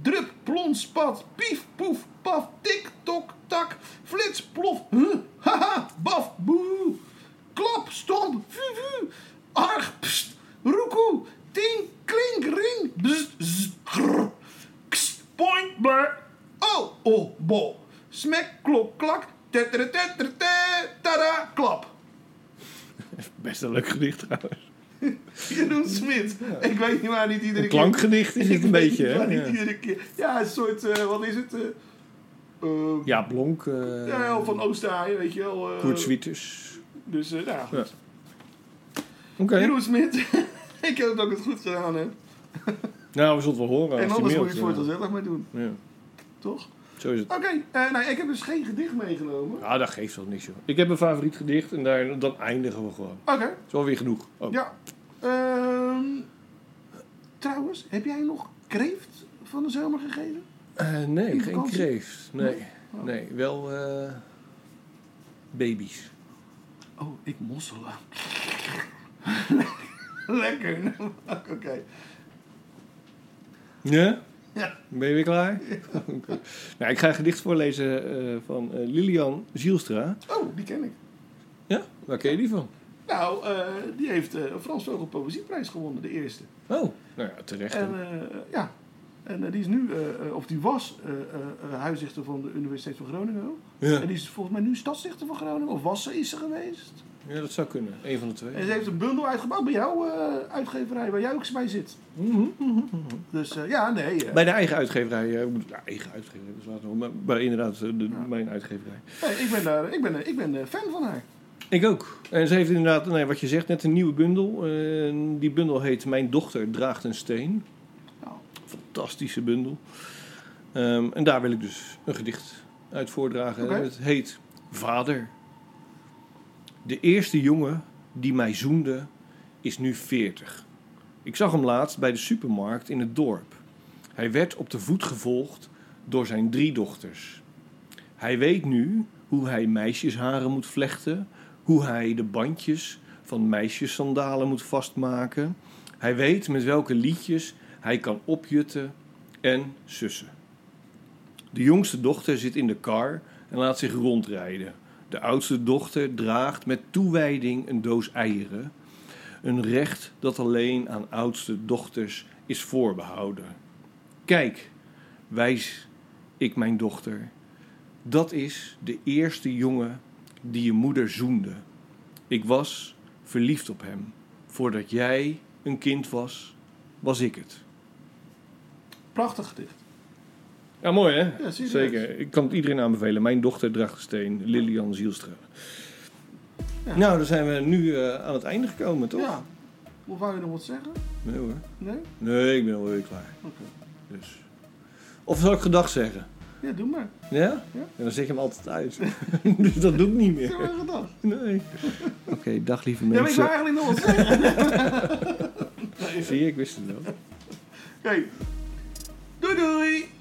S7: Drup, plons, pat. Pief, poef, paf. Tik, tok, tak. Flits, plof. Huh, haha. Baf, boe. Klap, stomp, vu, vu. Arg, pst, roekoe. Ting, klink, ring, bzz, zzz, grr. Kst, point, blur. Oh, oh, bo. Smek, klok, klak. Tetere, tetere, te, tada, klap.
S6: Best een leuk gedicht trouwens.
S7: Jeroen Smit. Ik weet niet waar niet iedere keer...
S6: Klankgedicht is het een
S7: Ik weet
S6: beetje,
S7: niet waar
S6: hè?
S7: niet
S6: Ja.
S7: iedere keer... Ja, een soort, eh, wat is het? eh eh,
S6: Ja, Blonk. eh
S7: ja, van Oosterhaaien, weet je wel. eh,
S6: Koert Swieters.
S7: Dus, eh, nou ja, goed.
S6: Ja. Eh, Oké.
S7: Jeroen Smit. (laughs) ik hoop dat ik het goed gedaan heb.
S6: Nou, we zullen het wel horen.
S7: en
S6: als
S7: anders
S6: je mailt,
S7: moet je het voor het
S6: eh.
S7: gezellig maar doen,
S6: Ja,
S7: toch?
S6: zo is het.
S7: Oké, eh, nou, ik heb dus geen gedicht meegenomen.
S6: Ah, dat geeft toch niks, joh. Ik heb een favoriet gedicht en daar, dan eindigen we gewoon.
S7: Oké,
S6: Dat is wel weer genoeg. Oh.
S7: ja. Ehm, trouwens, heb jij nog kreeft van de zomer gegeten?
S6: Eh, nee,
S7: In
S6: geen
S7: vakantie?
S6: kreeft. Nee,
S7: Oh.
S6: nee. wel eh, baby's.
S7: Oh, ik mosselen. (laughs) Lekker. Oké.
S6: Ja?
S7: Ja.
S6: Ben je weer
S7: (laughs)
S6: klaar? (laughs) Oké. Nou, ik ga een gedicht voorlezen eh, van eh, Lilian Zielstra.
S7: Oh, die ken ik.
S6: Ja? Waar ken je die van?
S7: Nou, eh, die heeft eh, een Frans Vogel Poëzieprijs gewonnen, de eerste.
S6: Oh, nou ja, terecht.
S7: En
S6: hè.
S7: eh, ja, en eh, die is nu, eh, eh, of die was eh, eh, eh, huisdichter van de Universiteit van Groningen ook.
S6: ja.
S7: En die is volgens mij nu stadsdichter van Groningen, of was ze, is ze geweest.
S6: ja, dat zou kunnen. Eén van de twee.
S7: En ze heeft een bundel uitgebouwd bij jouw eh, uitgeverij, waar jij ook bij zit.
S6: Mhm, mhm, mhm.
S7: Dus eh, ja, nee. eh,
S6: Bij de eigen uitgeverij. eh, nou, eigen uitgeverij, dat is later wel, maar bij inderdaad eh, de, mijn uitgeverij.
S7: nee, ik ben daar, ik ben, eh, ik ben eh, fan van haar.
S6: Ik ook. En ze heeft inderdaad, nee, wat je zegt, net een nieuwe bundel. Eh, die bundel heet Mijn dochter draagt een steen.
S7: Nou.
S6: Fantastische bundel. Ehm, en daar wil ik dus een gedicht uit voordragen.
S7: Oké.
S6: En Het heet Vader. De eerste jongen die mij zoende is nu 40. Ik zag hem laatst bij de supermarkt in het dorp. Hij werd op de voet gevolgd door zijn drie dochters. Hij weet nu hoe hij meisjesharen moet vlechten, hoe hij de bandjes van meisjessandalen moet vastmaken. Hij weet met welke liedjes hij kan opjutten en sussen. De jongste dochter zit in de kar en laat zich rondrijden. De oudste dochter draagt met toewijding een doos eieren. Een recht dat alleen aan oudste dochters is voorbehouden. Kijk, wijs ik mijn dochter. Dat is de eerste jongen die je moeder zoende. Ik was verliefd op hem. Voordat jij een kind was, was ik het.
S7: Prachtig gedicht.
S6: Ja, mooi hè?
S7: Ja, serieus.
S6: Zeker. Ik kan het iedereen aanbevelen. Mijn dochter Drachtsteen, Lilian Zielstra. Nou, dan zijn we nu eh, aan het einde gekomen, toch?
S7: Ja. Of wou je nog wat zeggen?
S6: Nee hoor.
S7: Nee?
S6: Nee, ik ben alweer klaar.
S7: Oké.
S6: Dus. Of zal ik gedag zeggen?
S7: Ja, doe maar.
S6: Ja? ja? dan zeg je hem altijd uit. (laughs) dus dat doe ik niet
S7: Doe
S6: meer.
S7: maar gedag.
S6: Nee. Oké, dag lieve
S7: Ja, maar ik wil
S6: mensen.
S7: eigenlijk nog wat zeggen.
S6: Zie je, ik wist het wel.
S7: Oké. Doei doei!